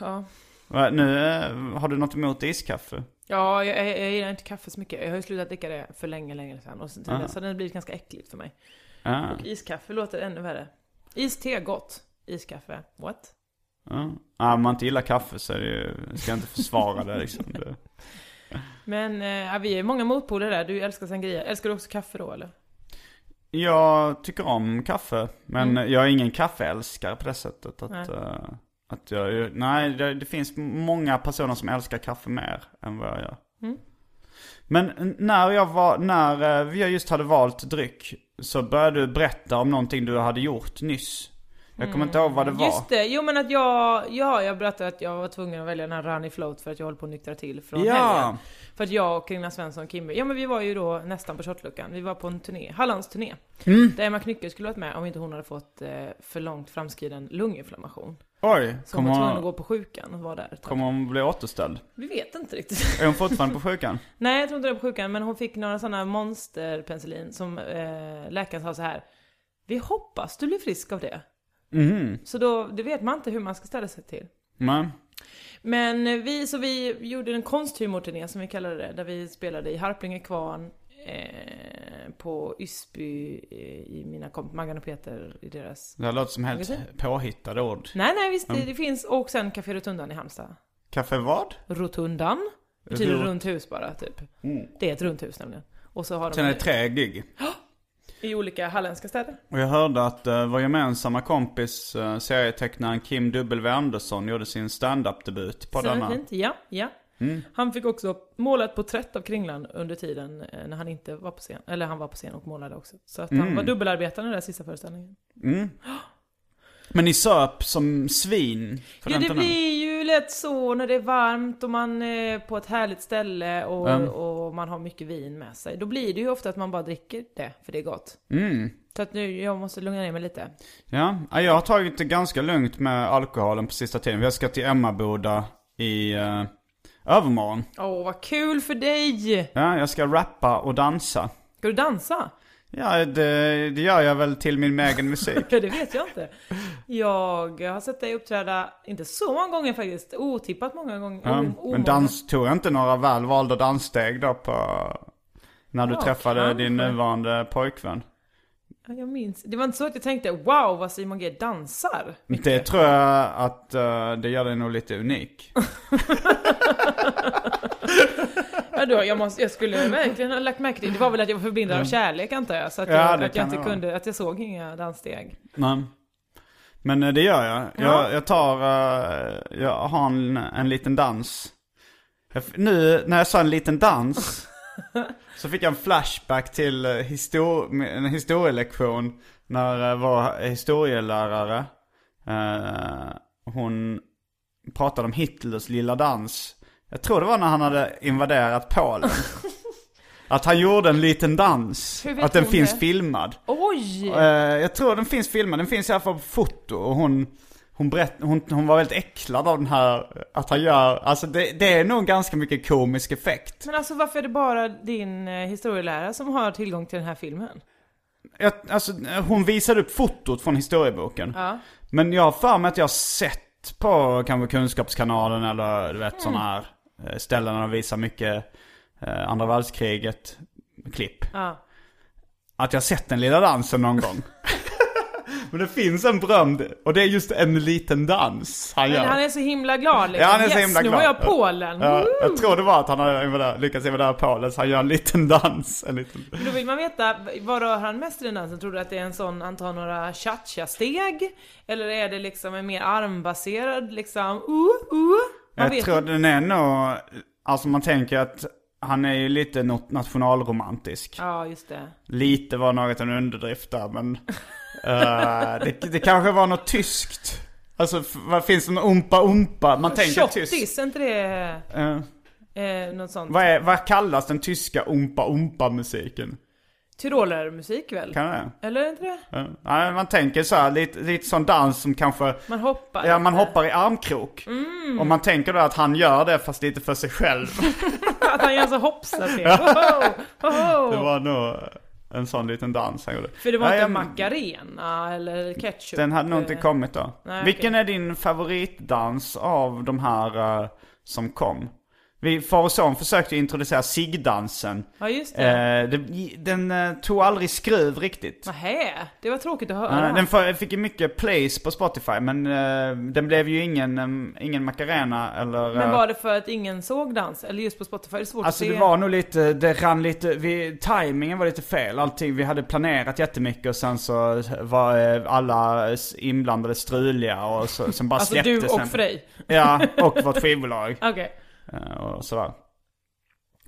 [SPEAKER 2] Ja.
[SPEAKER 1] Va, Nu, eh, har du något emot iskaffe?
[SPEAKER 2] Ja, jag, jag, jag gillar inte kaffe så mycket. Jag har ju slutat dricka det för länge, länge sedan. Och sen till dess har det blivit ganska äckligt för mig.
[SPEAKER 1] Ja.
[SPEAKER 2] Och iskaffe låter ännu värre. Iste, gott. Iskaffe, what?
[SPEAKER 1] Ja. Ah, om man inte gillar kaffe så är det ju, ska jag inte försvara det liksom. Det.
[SPEAKER 2] Men eh, ja, vi är många motpoler där. Du älskar sangria. Älskar du också kaffe då eller?
[SPEAKER 1] Jag tycker om kaffe, men jag är ingen kaffeälskare på det sättet. Att,
[SPEAKER 2] Mm. Nej.
[SPEAKER 1] eh, att jag, nej, det, det finns många personer som älskar kaffe mer än vad jag gör.
[SPEAKER 2] Mm.
[SPEAKER 1] Men n- när jag var, när eh, vi just hade valt dryck så började du berätta om någonting du hade gjort nyss. Jag kommer inte ihåg vad det var.
[SPEAKER 2] Mm, Just det, jo men att jag, ja jag berättade att jag var tvungen att välja den här Runny Float för att jag håller på att nyktra till från
[SPEAKER 1] Ja.
[SPEAKER 2] helgen. För att jag och Kristina Svensson och Kimberg, ja men vi var ju då nästan på shotluckan. Vi var på en turné, Hallands turné.
[SPEAKER 1] Mm.
[SPEAKER 2] Där Emma Knycke skulle varit med om inte hon hade fått eh, för långt framskriden lunginflammation.
[SPEAKER 1] Oj,
[SPEAKER 2] Så hon
[SPEAKER 1] kommer
[SPEAKER 2] var tvungen att
[SPEAKER 1] hon,
[SPEAKER 2] gå på sjukan och var där. ett tag.
[SPEAKER 1] kommer hon bli återställd?
[SPEAKER 2] Vi vet inte riktigt.
[SPEAKER 1] Är hon fortfarande på sjukan?
[SPEAKER 2] Nej jag tror inte det var på sjukan men hon fick några sådana monsterpenicillin som eh, läkaren sa så här. Vi hoppas du blir frisk av det. Så då, det vet man inte hur man ska ställa sig till.
[SPEAKER 1] Mhm. Nej.
[SPEAKER 2] Men eh, vi, så vi gjorde en konsthumorturné som vi kallade det, där vi spelade i Harplinge kvarn, eh, på Ysby, eh, i mina komp Maggan och Peter i deras...
[SPEAKER 1] Det här låter som helt påhittade ord.
[SPEAKER 2] Nej, nej, visst, det, det finns, och sen Café Rotundan i Halmstad.
[SPEAKER 1] Kaffe vad?
[SPEAKER 2] Rotundan betyder
[SPEAKER 1] Rot-
[SPEAKER 2] runt hus bara, typ. Det är ett runt hus nämligen. Och så har
[SPEAKER 1] Mm. Sen är det
[SPEAKER 2] de
[SPEAKER 1] tre gig.
[SPEAKER 2] i olika halländska städer.
[SPEAKER 1] Och jag hörde att uh, vår gemensamma kompis, eh, serietecknaren Kim W. Andersson, gjorde sin stand-up-debut på Mm.
[SPEAKER 2] Så det
[SPEAKER 1] denna.
[SPEAKER 2] är fint, ja, ja. Han fick också måla ett porträtt av Kringlan under tiden eh, när han inte var på scen. Eller han var på scen och målade också. Så att
[SPEAKER 1] Mm.
[SPEAKER 2] han var dubbelarbetande i den där sista föreställningen.
[SPEAKER 1] Men ni söp som svin för
[SPEAKER 2] Ja
[SPEAKER 1] den
[SPEAKER 2] det
[SPEAKER 1] tunneln.
[SPEAKER 2] blir ju lätt så när det är varmt och man är på ett härligt ställe och, och man har mycket vin med sig. Då blir det ju ofta att man bara dricker det, för det är gott.
[SPEAKER 1] Mm.
[SPEAKER 2] Så att nu, jag måste lugna ner mig lite.
[SPEAKER 1] Ja, Ja, jag har tagit det ganska lugnt med alkoholen på sista tiden. Jag ska till Emmaboda i uh, övermorgon.
[SPEAKER 2] Åh vad kul för dig!
[SPEAKER 1] Ja, jag ska rappa och dansa.
[SPEAKER 2] Ska du dansa?
[SPEAKER 1] Ja, det, det gör jag väl till min egen musik.
[SPEAKER 2] Ja, det vet jag inte. Jag har sett dig uppträda, inte så många gånger faktiskt, otippat många gånger. Oh,
[SPEAKER 1] Ja,
[SPEAKER 2] o-
[SPEAKER 1] men
[SPEAKER 2] omånga-
[SPEAKER 1] dans, tog jag inte några välvalda danssteg då på... När du
[SPEAKER 2] Ja,
[SPEAKER 1] träffade din
[SPEAKER 2] kanske.
[SPEAKER 1] nuvarande pojkvän?
[SPEAKER 2] Ja, Jag minns. Det var inte så att jag tänkte wow vad Simon G dansar.
[SPEAKER 1] Det tror jag att eh, det gör dig nog lite unik.
[SPEAKER 2] Ja, då, jag, måste, jag skulle verkligen ha lagt märke till det. var väl att jag var förblindad av kärlek antar jag. Så att
[SPEAKER 1] Ja,
[SPEAKER 2] jag,
[SPEAKER 1] det
[SPEAKER 2] att
[SPEAKER 1] kan
[SPEAKER 2] jag
[SPEAKER 1] det
[SPEAKER 2] inte
[SPEAKER 1] vara.
[SPEAKER 2] kunde, att jag såg inga danssteg.
[SPEAKER 1] Men, men eh, det gör jag.
[SPEAKER 2] Ja.
[SPEAKER 1] Jag, jag tar, eh, jag har en, en liten dans. Jag f- Nu när jag sa en liten dans så fick jag en flashback till eh, histor en historielektion när eh, vår historielärare, eh, hon pratade om Hitlers lilla dans. Jag tror det var när han hade invaderat Polen. Att han gjorde en liten dans.
[SPEAKER 2] Hur vet
[SPEAKER 1] Att den
[SPEAKER 2] hon
[SPEAKER 1] finns
[SPEAKER 2] det?
[SPEAKER 1] filmad.
[SPEAKER 2] Oj!
[SPEAKER 1] Eh, jag tror den finns filmad, den finns i alla fall på foto. Och hon, hon, berätt, hon, hon var väldigt äcklad av den här, att han gör, alltså det, det är nog ganska mycket komisk effekt.
[SPEAKER 2] Men alltså varför är det bara din eh, historielärare som har tillgång till den här filmen?
[SPEAKER 1] Jag, alltså, eh, hon visade upp fotot från historieboken. Men jag har för mig att jag har sett på kanske Kunskapskanalen eller du vet sådana
[SPEAKER 2] Mm.
[SPEAKER 1] här eh, ställen där de visar mycket eh, andra världskriget klipp.
[SPEAKER 2] Ja.
[SPEAKER 1] att jag sett den lilla dansen någon gång. Men det finns en berömd, och det är just en liten dans han gör.
[SPEAKER 2] Men han är så himla glad liksom.
[SPEAKER 1] Ja, han är så
[SPEAKER 2] yes,
[SPEAKER 1] himla
[SPEAKER 2] nu
[SPEAKER 1] glad.
[SPEAKER 2] har jag Polen!
[SPEAKER 1] Ja,
[SPEAKER 2] Woo!
[SPEAKER 1] jag tror det var att han hade invadera- lyckats invadera Polen, så han gör en liten dans. En liten...
[SPEAKER 2] Då vill man veta, vad rör han mest i den dansen? Tror du att det är en sån, han tar några cha-cha-steg? Eller är det liksom en mer armbaserad liksom, uh, uh? Man
[SPEAKER 1] Jag
[SPEAKER 2] vet
[SPEAKER 1] tror
[SPEAKER 2] inte.
[SPEAKER 1] den är nog, alltså man tänker att han är ju lite not- nationalromantisk.
[SPEAKER 2] Ja, just det.
[SPEAKER 1] Lite var något en underdrift där, men eh, det, det kanske var något tyskt. Alltså, f- vad finns det? Umpa umpa? Man tänker tyskt.
[SPEAKER 2] Tjottis, är inte det...
[SPEAKER 1] Eh,
[SPEAKER 2] Eh, något sånt.
[SPEAKER 1] Vad, är, vad kallas den tyska umpa umpa musiken?
[SPEAKER 2] Tyrolermusik väl?
[SPEAKER 1] Kan det?
[SPEAKER 2] Eller inte det?
[SPEAKER 1] Ja. Nej, man tänker så här, lite, lite sån dans som kanske...
[SPEAKER 2] Man hoppar
[SPEAKER 1] Ja, man
[SPEAKER 2] lite. Mm.
[SPEAKER 1] hoppar i armkrok. Och man tänker då att han gör det fast lite för sig själv.
[SPEAKER 2] Att han gör så hoppsar till. Ho, ho,
[SPEAKER 1] Det
[SPEAKER 2] ho, ho.
[SPEAKER 1] var nog en sån liten dans han gjorde.
[SPEAKER 2] För det var
[SPEAKER 1] Nej,
[SPEAKER 2] inte
[SPEAKER 1] jag-
[SPEAKER 2] macarena eller ketchup. eh,
[SPEAKER 1] Den hade nog inte kommit då.
[SPEAKER 2] Nej,
[SPEAKER 1] Vilken
[SPEAKER 2] okej.
[SPEAKER 1] är din favoritdans av de här eh, som kom? Vi, far och son försökte introducera sigdansen.
[SPEAKER 2] Ja just det.
[SPEAKER 1] Eh, det- den eh, tog aldrig skruv riktigt.
[SPEAKER 2] Nähä, det var tråkigt att höra.
[SPEAKER 1] Eh, den f- fick ju mycket plays på Spotify men eh, den blev ju ingen, em, ingen Macarena eller... eh,
[SPEAKER 2] Men var det för att ingen såg dans? Eller just på Spotify? Det är svårt
[SPEAKER 1] Alltså
[SPEAKER 2] att se.
[SPEAKER 1] det var nog lite, det rann lite, vi, tajmingen var lite fel allting. Vi hade planerat jättemycket och sen så var eh, alla s- inblandade struliga och så, sen bara
[SPEAKER 2] Alltså
[SPEAKER 1] släpptes
[SPEAKER 2] du och
[SPEAKER 1] den.
[SPEAKER 2] Frej.
[SPEAKER 1] Ja, och vårt skivbolag
[SPEAKER 2] Okej.
[SPEAKER 1] eh, och sådär.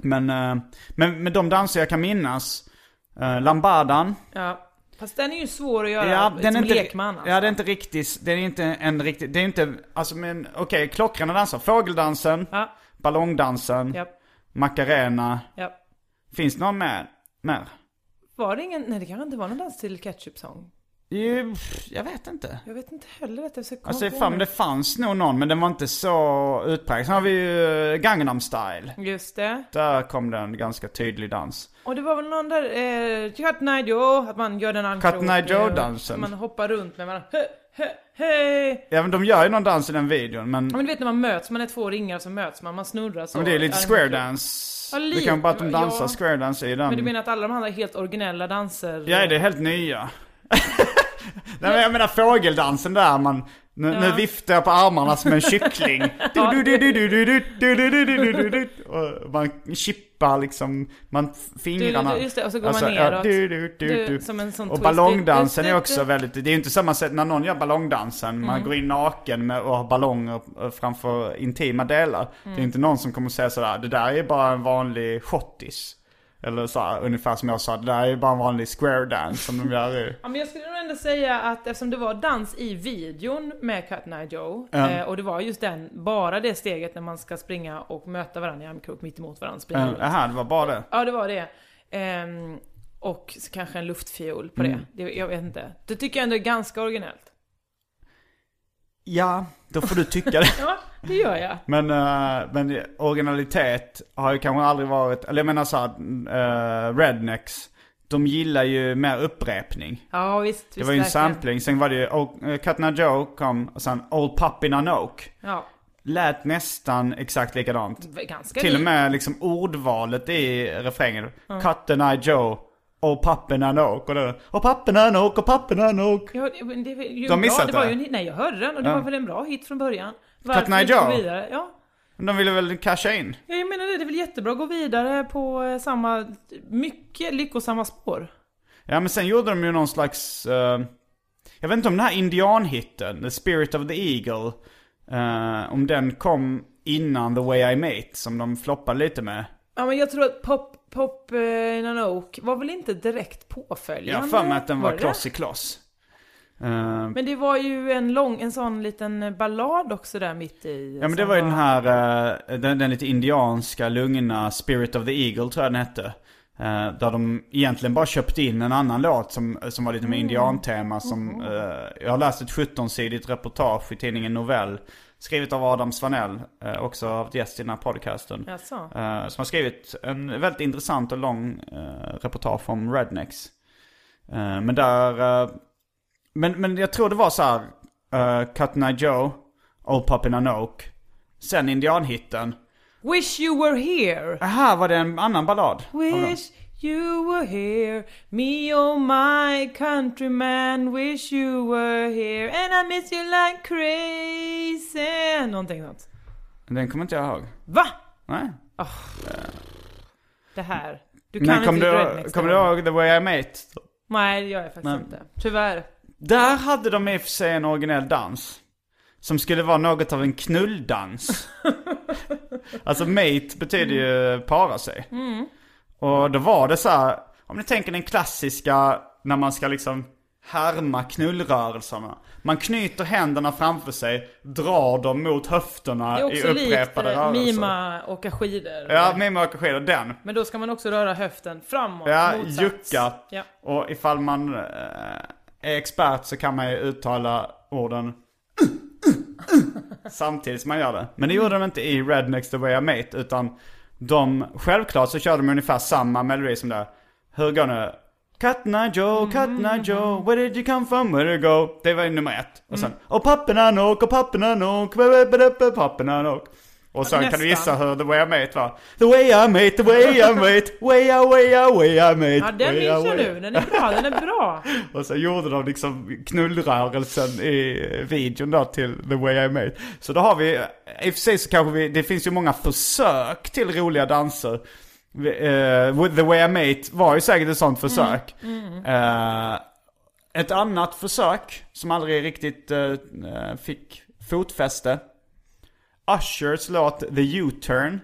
[SPEAKER 1] Men, eh, men med de danser jag kan minnas, eh, Lambadan.
[SPEAKER 2] Ja. Fast den är ju svår att göra
[SPEAKER 1] Ja,
[SPEAKER 2] som
[SPEAKER 1] den är inte,
[SPEAKER 2] lekman. Alltså.
[SPEAKER 1] ja, det är inte riktigt, det är inte en riktig, det är inte, alltså men okej, klockrena danser. Fågeldansen,
[SPEAKER 2] Ja,
[SPEAKER 1] ballongdansen,
[SPEAKER 2] ja,
[SPEAKER 1] macarena.
[SPEAKER 2] ja.
[SPEAKER 1] Finns det någon mer? mer?
[SPEAKER 2] Var det ingen, nej det kanske inte var någon dans till Ketchup-sång.
[SPEAKER 1] Jo, pff, Jag vet inte.
[SPEAKER 2] Jag vet inte heller att jag ska komma
[SPEAKER 1] Alltså
[SPEAKER 2] på
[SPEAKER 1] fan,
[SPEAKER 2] nu.
[SPEAKER 1] det fanns nog någon men den var inte så utpräglad. Sen har vi ju eh, Gangnam style.
[SPEAKER 2] Just det.
[SPEAKER 1] Där kom det en ganska tydlig dans.
[SPEAKER 2] Och det var väl någon där, eh, Chatnai Joe, att man gör den armkroken.
[SPEAKER 1] Chatnai Joe-dansen.
[SPEAKER 2] Man hoppar runt med varandra. Hö, hö, hej!
[SPEAKER 1] Ja men de gör ju någon dans i den videon men,
[SPEAKER 2] Ja, Men du vet när man möts, man är två ringar så möts man, man snurrar så.
[SPEAKER 1] men det är lite
[SPEAKER 2] Armkrok.
[SPEAKER 1] square dance.
[SPEAKER 2] Ja,
[SPEAKER 1] det
[SPEAKER 2] lite,
[SPEAKER 1] kan bara att de
[SPEAKER 2] ja.
[SPEAKER 1] dansar square dance i den.
[SPEAKER 2] Men du menar att alla de andra är helt originella danser?
[SPEAKER 1] Ja, det är helt nya. Nej men jag menar fågeldansen där man, nu, nu viftar jag på armarna som en kyckling. Du, du, du, du, du, du, du, du, du, du, du, du, du. Och man chippar liksom, man fingrarna. Alltså,
[SPEAKER 2] Du, du, just det, och så går man
[SPEAKER 1] Ja,
[SPEAKER 2] neråt.
[SPEAKER 1] du, du, du,
[SPEAKER 2] Du,
[SPEAKER 1] du.
[SPEAKER 2] som en sån
[SPEAKER 1] och
[SPEAKER 2] twist.
[SPEAKER 1] ballongdansen
[SPEAKER 2] Du,
[SPEAKER 1] är
[SPEAKER 2] du,
[SPEAKER 1] också
[SPEAKER 2] du. Mm.
[SPEAKER 1] väldigt, det är ju inte samma sätt när någon gör ballongdansen, man går in naken med, och har ballonger eh, framför intima delar.
[SPEAKER 2] Mm.
[SPEAKER 1] Det är inte någon som kommer säga sådär, det där är bara en vanlig schottis. Eller så här, ungefär som jag sa, det där är ju bara en vanlig square dance som de gör i.
[SPEAKER 2] Ja, men jag skulle nog ändå säga att eftersom det var dans i videon med Cotton Joe
[SPEAKER 1] Ja.
[SPEAKER 2] eh, och det var just den, bara det steget när man ska springa och möta varandra i armkrok mitt emot varandra. Springa
[SPEAKER 1] Eh,
[SPEAKER 2] runt.
[SPEAKER 1] Jaha, det var bara det.
[SPEAKER 2] Ja, det var det. Ehm, och så kanske en luftfiol på
[SPEAKER 1] Mm.
[SPEAKER 2] det. det. Jag vet inte. Det tycker jag ändå är ganska originellt.
[SPEAKER 1] Ja, då får du tycka det.
[SPEAKER 2] Ja, det gör jag.
[SPEAKER 1] Men, eh, men originalitet har ju kanske aldrig varit, eller jag menar såhär, uh, rednecks, de gillar ju mer upprepning.
[SPEAKER 2] Ja, visst.
[SPEAKER 1] Det var ju en sampling, sen var det ju oh, eh, Cotton Eye Joe kom och sen Old Puppy Nanoke.
[SPEAKER 2] Ja,
[SPEAKER 1] Lät nästan exakt likadant.
[SPEAKER 2] ganska
[SPEAKER 1] Till och
[SPEAKER 2] lik.
[SPEAKER 1] med liksom ordvalet i refrängen. Cotton Eye Joe, Old Puppy Nanoke. Och det där, Old Puppy Nanoke, Old Puppy Nanoke.
[SPEAKER 2] Ja, men det, var ju
[SPEAKER 1] Du har
[SPEAKER 2] en bra,
[SPEAKER 1] missat
[SPEAKER 2] det var
[SPEAKER 1] det?
[SPEAKER 2] ju en, hit- Nej, jag hörde den och det
[SPEAKER 1] Ja.
[SPEAKER 2] var väl en bra hit från början.
[SPEAKER 1] Cotton Eye
[SPEAKER 2] inte gå
[SPEAKER 1] Joe?
[SPEAKER 2] vidare? Ja.
[SPEAKER 1] Men De ville väl casha in.
[SPEAKER 2] Ja, Jag menar det, det är väl jättebra att gå vidare på eh, samma, mycket lyckosamma spår.
[SPEAKER 1] Ja men sen gjorde de ju någon slags... eh, jag vet inte om den här indianhitten, The Spirit of the Eagle. eh, om den kom innan The Way I Mate som de floppade lite med.
[SPEAKER 2] Ja men jag tror att Pop, Pop eh, in an Oak var väl inte direkt
[SPEAKER 1] Jag
[SPEAKER 2] påföljande?
[SPEAKER 1] har för mig att den var,
[SPEAKER 2] det
[SPEAKER 1] kloss i kloss. Eh,
[SPEAKER 2] Men det var ju en lång, en sån liten ballad också där mitt i.
[SPEAKER 1] ja men det
[SPEAKER 2] som
[SPEAKER 1] var ju den här, eh, den, den lite indianska, lugna Spirit of the Eagle tror jag den hette. Eh, där de egentligen bara köpte in en annan låt som, som var
[SPEAKER 2] Mm.
[SPEAKER 1] lite med indiantema
[SPEAKER 2] Mhm.
[SPEAKER 1] som... eh, jag har läst ett 17-sidigt reportage i tidningen Novell. Skrivet av Adam Svanell, eh, också haft gäst i den här podcasten.
[SPEAKER 2] Jaså?
[SPEAKER 1] Eh, som har skrivit en väldigt intressant och lång eh, reportage om rednecks. Eh, men där... eh, men, men jag tror det var så här, eh, Cotton Eye Joe, Old Puppy Nanoke, sen indianhitten.
[SPEAKER 2] Wish you were here!
[SPEAKER 1] Här var det en annan ballad.
[SPEAKER 2] Wish you were here, me oh my countryman. Wish you were here, and I miss you like crazy. Någonting sånt.
[SPEAKER 1] Den kommer inte jag ihåg.
[SPEAKER 2] Va?
[SPEAKER 1] Nej.
[SPEAKER 2] Det här. Du kan
[SPEAKER 1] Men
[SPEAKER 2] inte
[SPEAKER 1] kommer du,
[SPEAKER 2] Rednex
[SPEAKER 1] kommer du
[SPEAKER 2] namn.
[SPEAKER 1] ihåg The Way I Mate?
[SPEAKER 2] Nej, det gör jag faktiskt
[SPEAKER 1] Nej.
[SPEAKER 2] inte. Tyvärr.
[SPEAKER 1] Där hade de i och för sig en originell dans. Som skulle vara något av en knulldans. alltså mate betyder ju para sig.
[SPEAKER 2] Mm.
[SPEAKER 1] Och då var det så här, om ni tänker den klassiska när man ska liksom härma knullrörelserna. Man knyter händerna framför sig, drar dem mot höfterna
[SPEAKER 2] Det är
[SPEAKER 1] i
[SPEAKER 2] också likt
[SPEAKER 1] upprepade
[SPEAKER 2] eh,
[SPEAKER 1] rörelser.
[SPEAKER 2] mima åka skidor.
[SPEAKER 1] Ja, mima och skidor. Den.
[SPEAKER 2] Men då ska man också röra höften framåt.
[SPEAKER 1] Ja,
[SPEAKER 2] motsats.
[SPEAKER 1] jucka.
[SPEAKER 2] Ja.
[SPEAKER 1] Och ifall man eh, är expert så kan man ju uttala orden samtidigt som man gör det. Men det gjorde de inte i Rednecks The Way I Mate utan de, självklart så körde de ungefär samma melodi som där. Hur går nu? Katna
[SPEAKER 2] Mm-hmm.
[SPEAKER 1] Joe, Katna Joe, where did you come from, where did you go? Det var ju nummer ett. Och sen, och papporna nok, och papporna nok, papporna nok. Och sen kan du gissa
[SPEAKER 2] Nästan.
[SPEAKER 1] hur The Way I Mate var. The way I mate, the way I mate, way I, way I, way I mate.
[SPEAKER 2] Ja, den
[SPEAKER 1] way I,
[SPEAKER 2] minns jag
[SPEAKER 1] way I.
[SPEAKER 2] nu. Den är bra, den är bra.
[SPEAKER 1] Och så gjorde de liksom knullrörelsen i videon då till The Way I Made. Så då har vi, i och för sig så kanske vi, det finns ju många försök till roliga danser. Vi, eh, With The Way I Made var ju säkert ett sånt försök. Eh, ett annat försök som aldrig riktigt eh, eh, fick fotfäste. Ushers låt The U-Turn.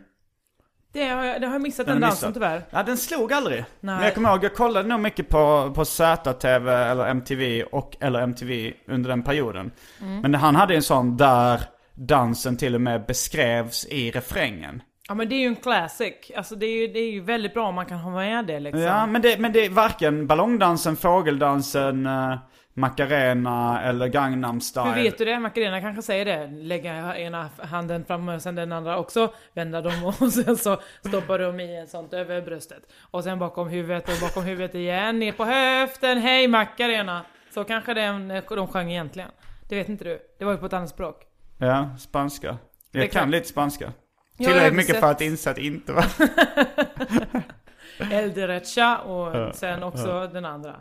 [SPEAKER 2] Det har jag, det har jag missat
[SPEAKER 1] Den
[SPEAKER 2] den
[SPEAKER 1] har
[SPEAKER 2] dansen
[SPEAKER 1] missat.
[SPEAKER 2] tyvärr.
[SPEAKER 1] Ja, den slog aldrig.
[SPEAKER 2] Nej.
[SPEAKER 1] Men jag kommer ihåg, jag kollade nog mycket på, på ZTV eller MTV och eller MTV under den perioden.
[SPEAKER 2] Mm.
[SPEAKER 1] Men han hade en sån där dansen till och med beskrevs i refrängen.
[SPEAKER 2] Ja men det är ju en classic. Alltså det är ju, det är ju väldigt bra om man kan ha med det liksom.
[SPEAKER 1] Ja, men det, men det är varken ballongdansen, fågeldansen, eh, Macarena eller Gangnam style.
[SPEAKER 2] Hur vet du det? Macarena kanske säger det. Lägga ena handen fram och sen den andra också. Vända dem och sen så stoppar de i en sånt över bröstet. Och sen bakom huvudet och bakom huvudet igen. Ner på höften. Hej Macarena! Så kanske den, de sjöng egentligen. Det vet inte du. Det var ju på ett annat språk.
[SPEAKER 1] Ja, spanska. Jag
[SPEAKER 2] Det
[SPEAKER 1] kan
[SPEAKER 2] kan-
[SPEAKER 1] lite spanska.
[SPEAKER 2] Ja,
[SPEAKER 1] Tillräckligt
[SPEAKER 2] jag
[SPEAKER 1] mycket
[SPEAKER 2] har
[SPEAKER 1] för
[SPEAKER 2] sett.
[SPEAKER 1] att inse att det inte var...
[SPEAKER 2] El derecha och sen också den andra.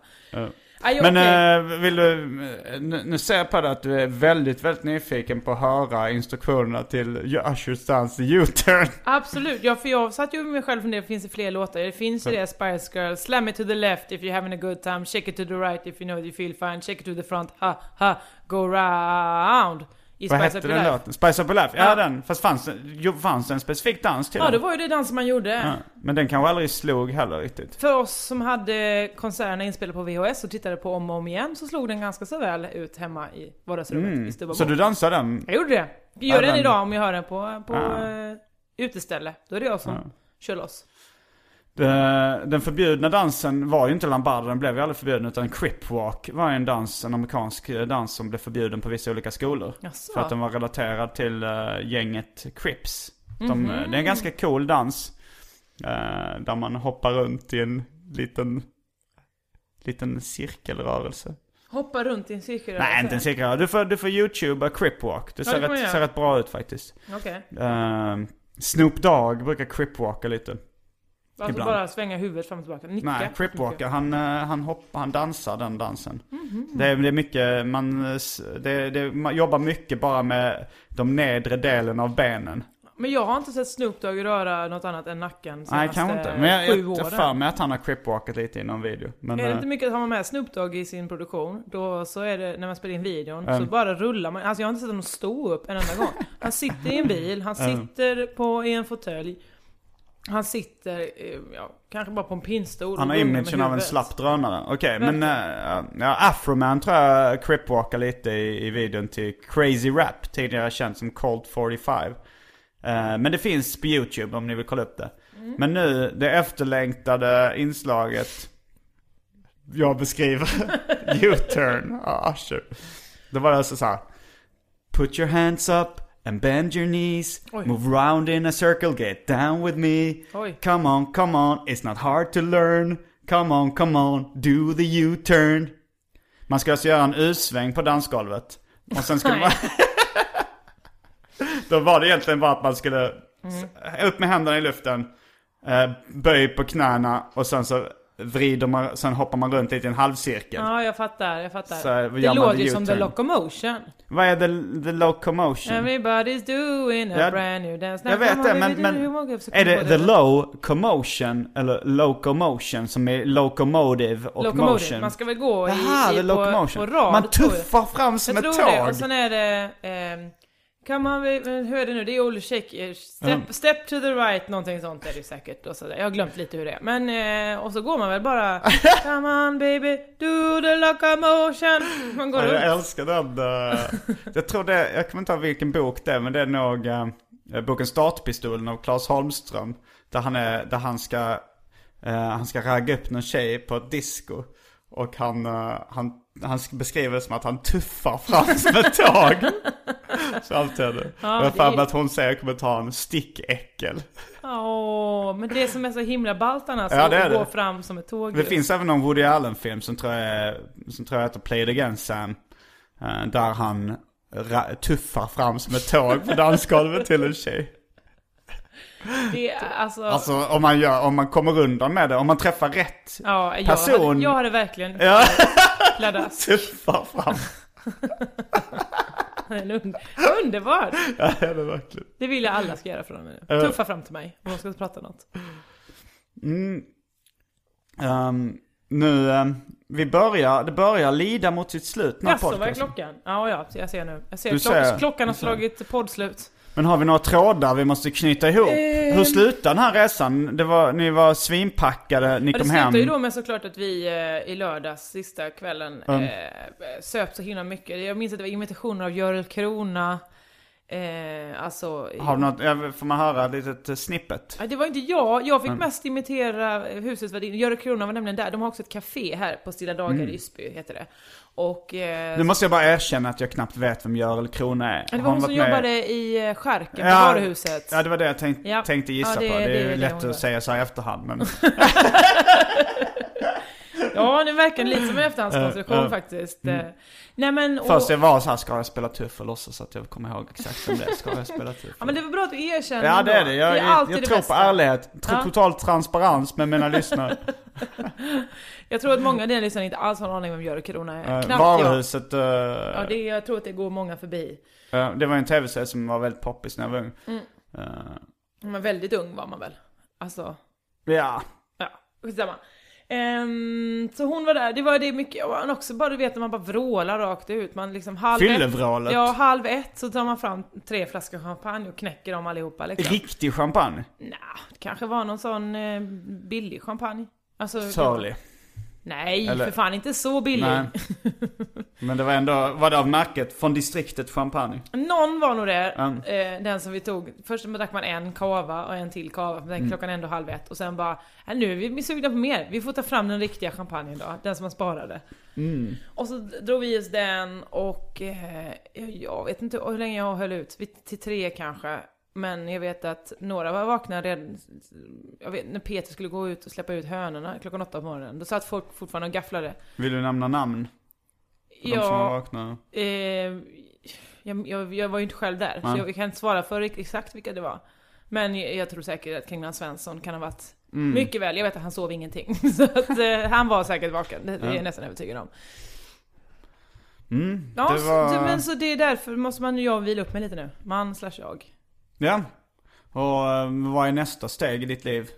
[SPEAKER 2] Aj,
[SPEAKER 1] Men
[SPEAKER 2] okej.
[SPEAKER 1] eh, vill du, eh, nu, nu ser jag på dig att du är väldigt, väldigt nyfiken på att höra instruktionerna till Ushers Dance the U-turn.
[SPEAKER 2] Absolut, ja för jag satt ju med mig själv och funderade, finns det fler låtar? Det finns ju det, Spice Girl, Slam it to the left if you're having a good time, shake it to the right if you know you feel fine, shake it to the front, ha ha, go round. I
[SPEAKER 1] Vad
[SPEAKER 2] Spice
[SPEAKER 1] hette
[SPEAKER 2] Up Your
[SPEAKER 1] den
[SPEAKER 2] Life.
[SPEAKER 1] låten? Spice Up A Life? Ja,
[SPEAKER 2] Ja.
[SPEAKER 1] den. Fast fanns, det- jo, fanns det en specifik dans till
[SPEAKER 2] Ja, det
[SPEAKER 1] den?
[SPEAKER 2] var ju det dansen man gjorde.
[SPEAKER 1] Ja, Men den kanske aldrig slog heller riktigt.
[SPEAKER 2] För oss som hade konserterna inspelade på VHS och tittade på om och om igen så slog den ganska så väl ut hemma i vardagsrummet i Stubba
[SPEAKER 1] Mm. Så
[SPEAKER 2] Bo.
[SPEAKER 1] du dansade den?
[SPEAKER 2] Jag gjorde det. Jag gör
[SPEAKER 1] Ja,
[SPEAKER 2] den
[SPEAKER 1] men-
[SPEAKER 2] idag om jag hör den på, på
[SPEAKER 1] Ja.
[SPEAKER 2] eh, uteställe. Då är det jag som kör loss.
[SPEAKER 1] De- Eh, Den förbjudna dansen var ju inte Lambada, den blev ju aldrig förbjuden. Utan Cripwalk var ju en dans, en amerikansk eh, dans som blev förbjuden på vissa olika skolor.
[SPEAKER 2] Jaså?
[SPEAKER 1] För att den var relaterad till eh, gänget Crips. De,
[SPEAKER 2] Mhm.
[SPEAKER 1] eh, Det är en ganska cool dans. eh, där man hoppar runt i en liten, liten cirkelrörelse.
[SPEAKER 2] Hoppa runt i en cirkel.
[SPEAKER 1] Nej, inte en cirkelrörelse. Du får, du får youtuba Cripwalk. Det ser,
[SPEAKER 2] det kan man
[SPEAKER 1] rätt,
[SPEAKER 2] göra.
[SPEAKER 1] ser rätt bra ut faktiskt.
[SPEAKER 2] Okej.
[SPEAKER 1] Eh, Snoop Dogg brukar Cripwalka lite.
[SPEAKER 2] Alltså
[SPEAKER 1] Ibland.
[SPEAKER 2] bara svänga huvudet fram och tillbaka, nicka.
[SPEAKER 1] Nej, Cripwalker, han, eh, han, hoppar, han dansar den dansen.
[SPEAKER 2] Mhm.
[SPEAKER 1] Det, är, det är mycket, man, eh, s- det, det, man jobbar mycket bara med de nedre delen av benen.
[SPEAKER 2] Men jag har inte sett Snoop Dogg röra något annat än nacken
[SPEAKER 1] Nej,
[SPEAKER 2] senaste
[SPEAKER 1] kanske inte. Men jag,
[SPEAKER 2] sju
[SPEAKER 1] jag,
[SPEAKER 2] åren.
[SPEAKER 1] jag för mig att han har cripwalkat lite i någon video. Men,
[SPEAKER 2] Är det
[SPEAKER 1] eh,
[SPEAKER 2] inte mycket att ha med Snoop Dogg i sin produktion, då så är det när man spelar in videon,
[SPEAKER 1] Mm.
[SPEAKER 2] så bara rullar man. Alltså jag har inte sett honom stå upp en enda gång. Han sitter i en bil, han
[SPEAKER 1] Mm.
[SPEAKER 2] sitter på, i en fåtölj. Han sitter, eh, ja, kanske bara på en pinnstol.
[SPEAKER 1] han har
[SPEAKER 2] och rullar med
[SPEAKER 1] imagen av en
[SPEAKER 2] huvudet.
[SPEAKER 1] slapp drönare. Okej, men eh, ja, Afroman tror jag cripwalkar lite i, i videon till Crazy Rap, tidigare känd som Cold 45. Eh, Men det finns på YouTube om ni vill kolla upp det.
[SPEAKER 2] Mm.
[SPEAKER 1] Men nu, det efterlängtade inslaget jag beskriver, U-turn av Usher. Då var det alltså så här. Put your hands up and bend your knees.
[SPEAKER 2] Oj.
[SPEAKER 1] Move round in a circle, get down with me.
[SPEAKER 2] Oj.
[SPEAKER 1] Come on, come on, it's not hard to learn. Come on, come on, do the U-turn. Man ska alltså göra en U-sväng på dansgolvet. Och sen skulle man... Då var det egentligen bara att man skulle
[SPEAKER 2] Mm.
[SPEAKER 1] s- upp med händerna i luften, eh, böj på knäna och sen så vrider man, sen hoppar man runt lite i en halvcirkel.
[SPEAKER 2] Ja, jag fattar, jag fattar.
[SPEAKER 1] Så här, gör
[SPEAKER 2] det
[SPEAKER 1] man
[SPEAKER 2] låter
[SPEAKER 1] en
[SPEAKER 2] ju som The
[SPEAKER 1] U-turn.
[SPEAKER 2] Locomotion.
[SPEAKER 1] Vad är the, the locomotion?
[SPEAKER 2] Everybody's doing a
[SPEAKER 1] Ja,
[SPEAKER 2] brand new dance.
[SPEAKER 1] jag vet det, men, men är det the low commotion eller locomotion som är locomotive och
[SPEAKER 2] locomotion?
[SPEAKER 1] motion?
[SPEAKER 2] Man ska väl gå i,
[SPEAKER 1] Aha,
[SPEAKER 2] i
[SPEAKER 1] the
[SPEAKER 2] på,
[SPEAKER 1] locomotion.
[SPEAKER 2] på rad,
[SPEAKER 1] man
[SPEAKER 2] tror jag.
[SPEAKER 1] tuffar fram som
[SPEAKER 2] jag
[SPEAKER 1] ett
[SPEAKER 2] tror det,
[SPEAKER 1] tåg.
[SPEAKER 2] och sen är det ehm, Kan man, men hur är det nu? Det är Olle Shake, step,
[SPEAKER 1] Mm.
[SPEAKER 2] step to the right, någonting sånt är det ju säkert. Och så där. Jag har glömt lite hur det är. Men, eh, och så går man väl bara Come on baby, do the locomotion. Man går
[SPEAKER 1] Ja, jag
[SPEAKER 2] runt.
[SPEAKER 1] älskar den. eh, jag tror det, jag kommer inte ihåg vilken bok det är, men det är nog eh, boken Startpistolen av Claes Holmström. Där han, är, där han, ska, eh, han ska ragga upp någon tjej på ett disco. Och han, eh, han, han sk- beskriver det som att han tuffar fram som ett tåg. Så alltid är det. och jag har
[SPEAKER 2] det
[SPEAKER 1] för
[SPEAKER 2] är-
[SPEAKER 1] mig att hon säger i kommentaren stickäckel.
[SPEAKER 2] Åh, men det som är så himla ballt annars,
[SPEAKER 1] Ja, det är
[SPEAKER 2] att gå
[SPEAKER 1] det.
[SPEAKER 2] fram som ett tåg.
[SPEAKER 1] Det
[SPEAKER 2] ju.
[SPEAKER 1] finns även någon Woody Allen-film som tror jag, är- som tror jag heter Play It Again Sam. eh, Där han ra- tuffar fram som ett tåg på dansgolvet till en tjej.
[SPEAKER 2] det, är- alltså,
[SPEAKER 1] Alltså om man, gör, om man kommer undan med det, om man träffar rätt
[SPEAKER 2] ja, jag,
[SPEAKER 1] person-
[SPEAKER 2] hade, jag hade verkligen
[SPEAKER 1] Ja.
[SPEAKER 2] pladdas.
[SPEAKER 1] tuffar fram.
[SPEAKER 2] En un- Underbart!
[SPEAKER 1] Ja, det är det verkligen.
[SPEAKER 2] Det vill jag alla ska göra från och med nu. Tuffa fram till mig om de ska prata något.
[SPEAKER 1] Ehm, nu, ehm, vi börjar, det börjar lida mot sitt slut den här
[SPEAKER 2] Jaså, vad är
[SPEAKER 1] podcasten.
[SPEAKER 2] klockan? Ja, ja, jag ser nu. Jag ser,
[SPEAKER 1] Du
[SPEAKER 2] klock-
[SPEAKER 1] ser.
[SPEAKER 2] klockan har
[SPEAKER 1] Du ser.
[SPEAKER 2] slagit poddslut.
[SPEAKER 1] Men har vi några trådar vi måste knyta ihop?
[SPEAKER 2] Eh.
[SPEAKER 1] Hur slutade den här resan? Det var, ni var svinpackade, ni
[SPEAKER 2] Ja, det
[SPEAKER 1] kom
[SPEAKER 2] slutar
[SPEAKER 1] hem.
[SPEAKER 2] ju då med såklart att vi eh, i lördags, sista kvällen, eh, söp så himla mycket. Jag minns att det var imitationer av Görel Krona. Eh, alltså,
[SPEAKER 1] Har du något, ja, får man höra ett litet eh, snippet?
[SPEAKER 2] Ja, det var inte jag. Jag fick mest imitera eh, husets värdinna. Görel Krona var nämligen där. De har också ett café här på Stilla dagar i Ysby, heter det. Och... Eh,
[SPEAKER 1] Nu Mm. måste jag bara erkänna att jag knappt vet vem Görel Krona är.
[SPEAKER 2] det var
[SPEAKER 1] Har
[SPEAKER 2] hon som
[SPEAKER 1] varit med-
[SPEAKER 2] jobbade i eh, Charken, på varuhuset.
[SPEAKER 1] Ja, det var det jag tänk,
[SPEAKER 2] Ja.
[SPEAKER 1] tänkte gissa
[SPEAKER 2] Ja, det-
[SPEAKER 1] på. Det är
[SPEAKER 2] det är
[SPEAKER 1] ju
[SPEAKER 2] det
[SPEAKER 1] lätt
[SPEAKER 2] hon
[SPEAKER 1] att
[SPEAKER 2] var.
[SPEAKER 1] säga så här i efterhand. Men,
[SPEAKER 2] Ja, det verkar lite som en efterhandskonstruktion
[SPEAKER 1] Ja, ja.
[SPEAKER 2] faktiskt. Eh, Nej men... Och,
[SPEAKER 1] först jag var så här, ska jag spela tuff och låtsas att jag kommer ihåg exakt vem det är. Ska jag spela tuff?
[SPEAKER 2] Ja men det var bra att du erkänner
[SPEAKER 1] Ja det är
[SPEAKER 2] då.
[SPEAKER 1] det. Jag, jag,
[SPEAKER 2] alltid
[SPEAKER 1] jag
[SPEAKER 2] det
[SPEAKER 1] tror på
[SPEAKER 2] bästa.
[SPEAKER 1] ärlighet. Tro,
[SPEAKER 2] Ja.
[SPEAKER 1] Total transparens med mina lyssnare.
[SPEAKER 2] Jag tror att många av dina lyssnare inte alls har en aning om Görel Krona är.
[SPEAKER 1] Eh,
[SPEAKER 2] Knappt jag.
[SPEAKER 1] Varuhuset. eh,
[SPEAKER 2] Ja, det, jag tror att det går många förbi.
[SPEAKER 1] eh, det var en tv-serie som var väldigt poppis när jag var ung.
[SPEAKER 2] Mm.
[SPEAKER 1] Eh,
[SPEAKER 2] Men väldigt ung var man väl? Alltså...
[SPEAKER 1] ja.
[SPEAKER 2] Ja, skitsamma. Um, så hon var där, det var det mycket, och också bara du vet när man bara vrålar rakt ut. Man liksom halv
[SPEAKER 1] Fyllevrålet.
[SPEAKER 2] ett, Ja, halv ett så tar man fram tre flaskor champagne och knäcker dem allihopa liksom.
[SPEAKER 1] Riktig champagne.
[SPEAKER 2] Nja, det kanske var någon sån eh, billig champagne. Alltså,
[SPEAKER 1] Surly.
[SPEAKER 2] Nej,
[SPEAKER 1] Eller-
[SPEAKER 2] för fan inte så billig.
[SPEAKER 1] Nej. Men det var ändå, var det av märket? Från distriktet champagne?
[SPEAKER 2] Någon var nog det,
[SPEAKER 1] Mm.
[SPEAKER 2] eh, den som vi tog. Först drack man en kava och en till kava, men mm. klockan är ändå halv ett. Och sen bara, "Äh, nu är vi sugna på mer. Vi får ta fram den riktiga champagnen då, den som man sparade.
[SPEAKER 1] Mm.
[SPEAKER 2] Och så drog vi oss den och eh, jag vet inte hur länge jag höll ut, Vi- till tre kanske. Men jag vet att några var vakna redan, jag vet, när Peter skulle gå ut och släppa ut hönorna klockan åtta på morgonen. Då satt folk fortfarande och gafflade.
[SPEAKER 1] Vill du nämna namn? På De som
[SPEAKER 2] Ja,
[SPEAKER 1] vaknar.
[SPEAKER 2] Eh, jag, jag, jag var ju inte själv där,
[SPEAKER 1] Nej.
[SPEAKER 2] så jag, kan inte svara för exakt vilka det var. Men jag, jag tror säkert att Kringland Svensson kan ha varit
[SPEAKER 1] Mm.
[SPEAKER 2] mycket väl. Jag vet att han sov ingenting. Så att, eh, han var säkert vaken, det, det är jag nästan övertygad om.
[SPEAKER 1] Mm,
[SPEAKER 2] Ja,
[SPEAKER 1] det var...
[SPEAKER 2] så, men så det är därför måste man ju jag vila upp mig lite nu. Man slash jag.
[SPEAKER 1] Ja. Och eh, vad är nästa steg i ditt liv?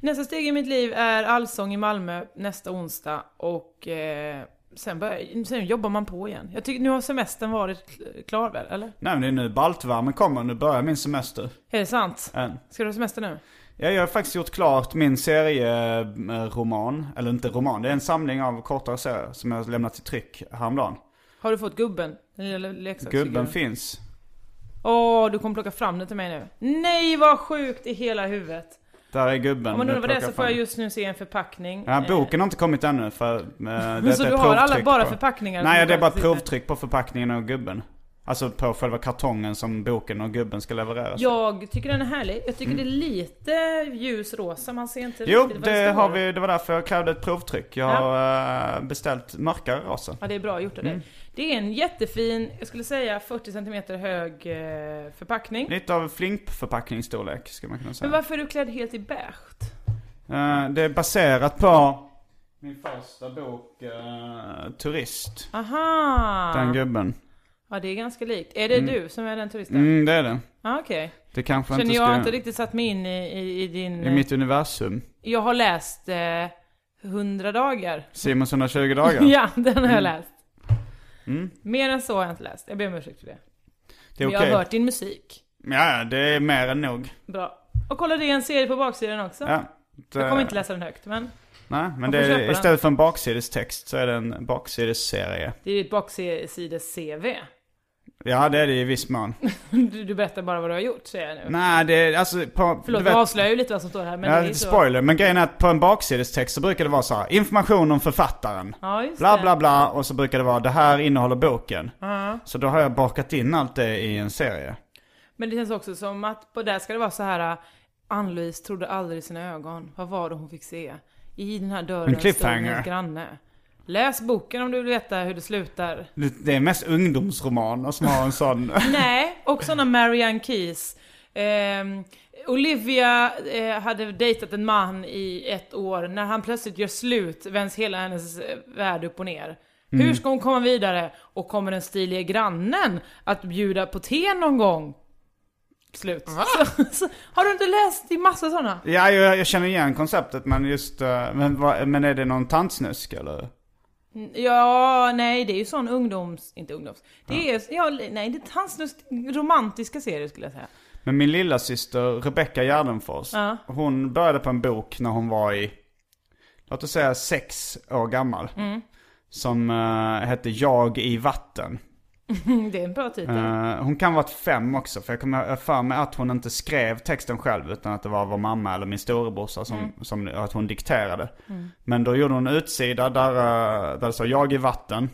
[SPEAKER 2] Nästa steg i mitt liv är Allsång i Malmö nästa onsdag och eh, sen, börjar, sen jobbar man på igen. Jag tycker, nu har semestern varit kl- klar väl, eller?
[SPEAKER 1] Nej men det är nu baltvärmen kommer, nu börjar min semester.
[SPEAKER 2] Är det sant?
[SPEAKER 1] Än.
[SPEAKER 2] Ska du ha semester nu?
[SPEAKER 1] Ja, jag har faktiskt gjort klart min serieroman, eller inte roman, det är en samling av kortare serier som jag har lämnat i tryck häromdagen.
[SPEAKER 2] Har du fått gubben? Den lilla leksaksfiguren?
[SPEAKER 1] Gubben finns.
[SPEAKER 2] Åh, du kommer plocka fram den till mig nu. Nej vad sjukt i hela huvudet.
[SPEAKER 1] Där är gubben.
[SPEAKER 2] Om man
[SPEAKER 1] Jag
[SPEAKER 2] undrar vad det är
[SPEAKER 1] plockar
[SPEAKER 2] så får
[SPEAKER 1] fram.
[SPEAKER 2] jag just nu se en förpackning.
[SPEAKER 1] Ja,
[SPEAKER 2] Eh,
[SPEAKER 1] boken har inte kommit ännu för eh, det är
[SPEAKER 2] så
[SPEAKER 1] ett
[SPEAKER 2] du har alla-
[SPEAKER 1] provtryck
[SPEAKER 2] bara
[SPEAKER 1] på.
[SPEAKER 2] förpackningar som
[SPEAKER 1] Nej, det är
[SPEAKER 2] du
[SPEAKER 1] bara
[SPEAKER 2] faktiskt inte-
[SPEAKER 1] provtryck på förpackningen och gubben. Alltså på själva kartongen som boken och gubben ska levereras i.
[SPEAKER 2] Jag tycker den är härlig. Jag tycker det är lite ljusrosa, man ser inte
[SPEAKER 1] Jo,
[SPEAKER 2] riktigt vad
[SPEAKER 1] det
[SPEAKER 2] står.
[SPEAKER 1] har vi, det var därför jag krävde ett provtryck. Jag har eh, beställt mörkare raser.
[SPEAKER 2] Ja, det är bra gjort av dig.
[SPEAKER 1] Mm.
[SPEAKER 2] Det är en jättefin, jag skulle säga 40 cm hög eh, förpackning.
[SPEAKER 1] Lite av flimpförpackningsstorlek skulle man kunna
[SPEAKER 2] Men
[SPEAKER 1] säga.
[SPEAKER 2] varför är du klädd helt i beige?
[SPEAKER 1] Eh, det är baserat på min första bok, eh, Turist.
[SPEAKER 2] Aha!
[SPEAKER 1] Den gubben.
[SPEAKER 2] Ja, det är ganska likt. Är det du som är den turisten?
[SPEAKER 1] Mm, det är det.
[SPEAKER 2] Ja, okej.
[SPEAKER 1] Det kanske
[SPEAKER 2] Känner
[SPEAKER 1] inte
[SPEAKER 2] jag
[SPEAKER 1] ska...
[SPEAKER 2] har inte riktigt satt mig in i, i, i din...
[SPEAKER 1] I mitt universum.
[SPEAKER 2] Jag har läst eh, 100 dagar.
[SPEAKER 1] Simons 120 dagar. Mm.
[SPEAKER 2] Ja, den har jag läst. Mer än så har jag inte läst. Jag ber om ursäkt för det.
[SPEAKER 1] Det är
[SPEAKER 2] Men
[SPEAKER 1] okej.
[SPEAKER 2] jag har hört din musik.
[SPEAKER 1] Ja, det är mer än nog.
[SPEAKER 2] Bra. Och kolla, det är en serie på baksidan också.
[SPEAKER 1] Ja.
[SPEAKER 2] Jag kommer inte läsa den högt, men
[SPEAKER 1] Nej, men
[SPEAKER 2] Man
[SPEAKER 1] det
[SPEAKER 2] får
[SPEAKER 1] är,
[SPEAKER 2] köpa
[SPEAKER 1] istället för en baksidestext så är det en baksidesserie.
[SPEAKER 2] det är ju ett baksides-CV.
[SPEAKER 1] Ja, det är det i viss mån.
[SPEAKER 2] Du, du berättar bara vad du har gjort, säger jag nu.
[SPEAKER 1] Nej, det är alltså... På,
[SPEAKER 2] Förlåt,
[SPEAKER 1] du
[SPEAKER 2] jag
[SPEAKER 1] vet-
[SPEAKER 2] avslöjar ju lite vad som står här, men
[SPEAKER 1] ja,
[SPEAKER 2] det är ju så.
[SPEAKER 1] spoiler, men grejen är att på en baksidestext så brukar det vara så här, information om författaren.
[SPEAKER 2] Ja, just
[SPEAKER 1] Bla
[SPEAKER 2] det.
[SPEAKER 1] bla bla, och så brukar det vara, det här innehåller boken. Så då har jag bakat in allt det i en serie.
[SPEAKER 2] Men det känns också som att på där ska det vara så här äh, Ann-Louise trodde aldrig sina ögon. Vad var det hon fick se? I den här
[SPEAKER 1] En
[SPEAKER 2] dörren stod
[SPEAKER 1] cliffhanger.
[SPEAKER 2] en granne. Läs boken om du vill veta hur det slutar.
[SPEAKER 1] Det det är mest ungdomsromaner som har en sån...
[SPEAKER 2] Nej, och sådana Marianne Keys. Ehm, Olivia eh, hade dejtat en man i ett år. När han plötsligt gör slut vänds hela hennes eh, värld upp och ner. Hur ska hon komma vidare? Och kommer den stilige grannen att bjuda på te någon gång? Slut. Så, så, har du inte läst? Det är massa sådana.
[SPEAKER 1] ja, jag, jag känner igen konceptet men just... eh, Men, vad- men är det någon tantsnusk eller?
[SPEAKER 2] Ja, nej det är ju sån ungdoms... Inte ungdoms. Det är, ja, nej det är tandsnusk, romantiska serier skulle jag säga.
[SPEAKER 1] Men min lilla syster Rebecca Gärdenfors,
[SPEAKER 2] Ja.
[SPEAKER 1] hon började på en bok när hon var i, låt oss säga sex år gammal. Som eh, hette Jag i vatten.
[SPEAKER 2] Det är en bra titel.
[SPEAKER 1] Eh, hon kan ha varit fem också, för jag kommer jag har för mig att hon inte skrev texten själv utan att det var vår mamma eller min storebrorsa som, som att hon dikterade. Men då gjorde hon en utsida där, eh, där det stod jag i vatten.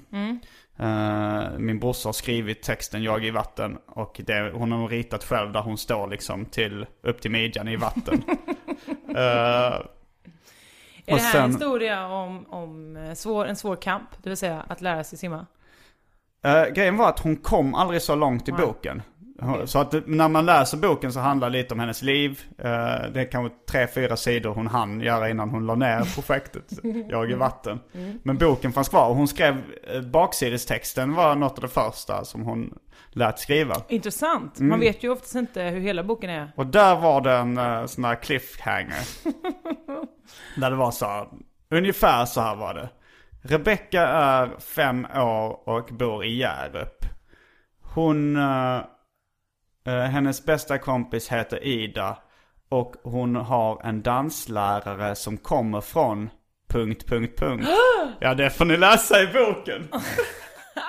[SPEAKER 1] Eh, min brorsa har skrivit texten jag i vatten och det, hon har ritat själv där hon står liksom till, upp till midjan i vatten. Eh,
[SPEAKER 2] Är
[SPEAKER 1] Och
[SPEAKER 2] det här
[SPEAKER 1] sen-
[SPEAKER 2] en historia om, om eh, svår, en svår kamp? Det vill säga att lära sig simma?
[SPEAKER 1] Eh, grejen var att hon kom aldrig så långt i
[SPEAKER 2] Nej.
[SPEAKER 1] boken. Hon- Så att det- när man läser boken så handlar det lite om hennes liv. Eh, det är kanske tre, fyra sidor hon hann göra innan hon la ner projektet Jag i vatten.
[SPEAKER 2] Mm.
[SPEAKER 1] Men boken fanns kvar och hon skrev eh, baksidestexten var något av det första som hon lät skriva.
[SPEAKER 2] Intressant.
[SPEAKER 1] Mm.
[SPEAKER 2] Man vet ju oftast inte hur hela boken är.
[SPEAKER 1] Och där var det en eh, sån här cliffhanger. där det var så här, ungefär så här var det. Rebecca är fem år och bor i Hjärup. Hon, eh, eh, hennes bästa kompis heter Ida. Och hon har en danslärare som kommer från... Punkt, punkt, punkt. Ja, det får ni läsa i boken.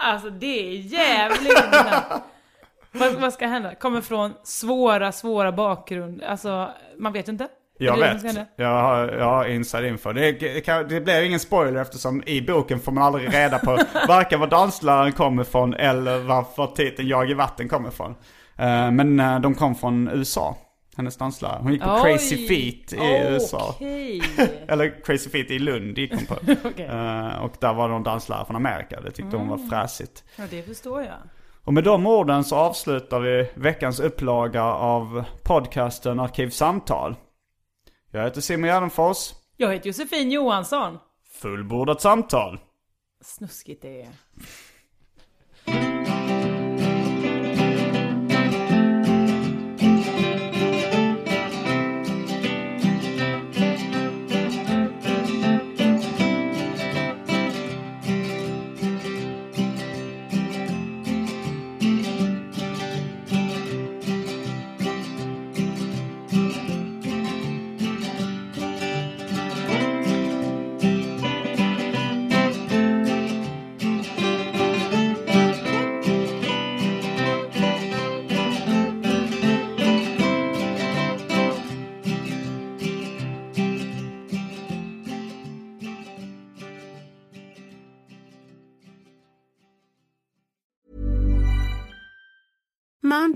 [SPEAKER 2] Alltså det är jävligt intressant. vad, vad ska hända? Kommer från svåra, svåra bakgrund. Alltså, man vet inte.
[SPEAKER 1] Jag
[SPEAKER 2] Är det det som ska
[SPEAKER 1] vet.
[SPEAKER 2] hända?
[SPEAKER 1] Jag har, jag har inside info. Det, det, kan, det blir ingen spoiler eftersom i boken får man aldrig reda på varken var dansläraren kommer ifrån eller varför titeln Jag i vatten kommer ifrån. Eh, men eh, de kom från USA, hennes danslärare. Hon gick på Crazy
[SPEAKER 2] Oj.
[SPEAKER 1] Feet i USA.
[SPEAKER 2] Okej.
[SPEAKER 1] Eller Crazy Feet i Lund gick hon på.
[SPEAKER 2] Okej. Mm.
[SPEAKER 1] Eh, och där var de danslärare från Amerika. Det tyckte hon var fräsigt.
[SPEAKER 2] Ja, det förstår jag.
[SPEAKER 1] Och med de orden så avslutar vi veckans upplaga av podcasten Arkivsamtal. Jag heter Simon Gärdenfors.
[SPEAKER 2] Jag heter Josefin Johansson.
[SPEAKER 1] Fullbordat samtal.
[SPEAKER 2] Snuskigt det är.
[SPEAKER 3] Mom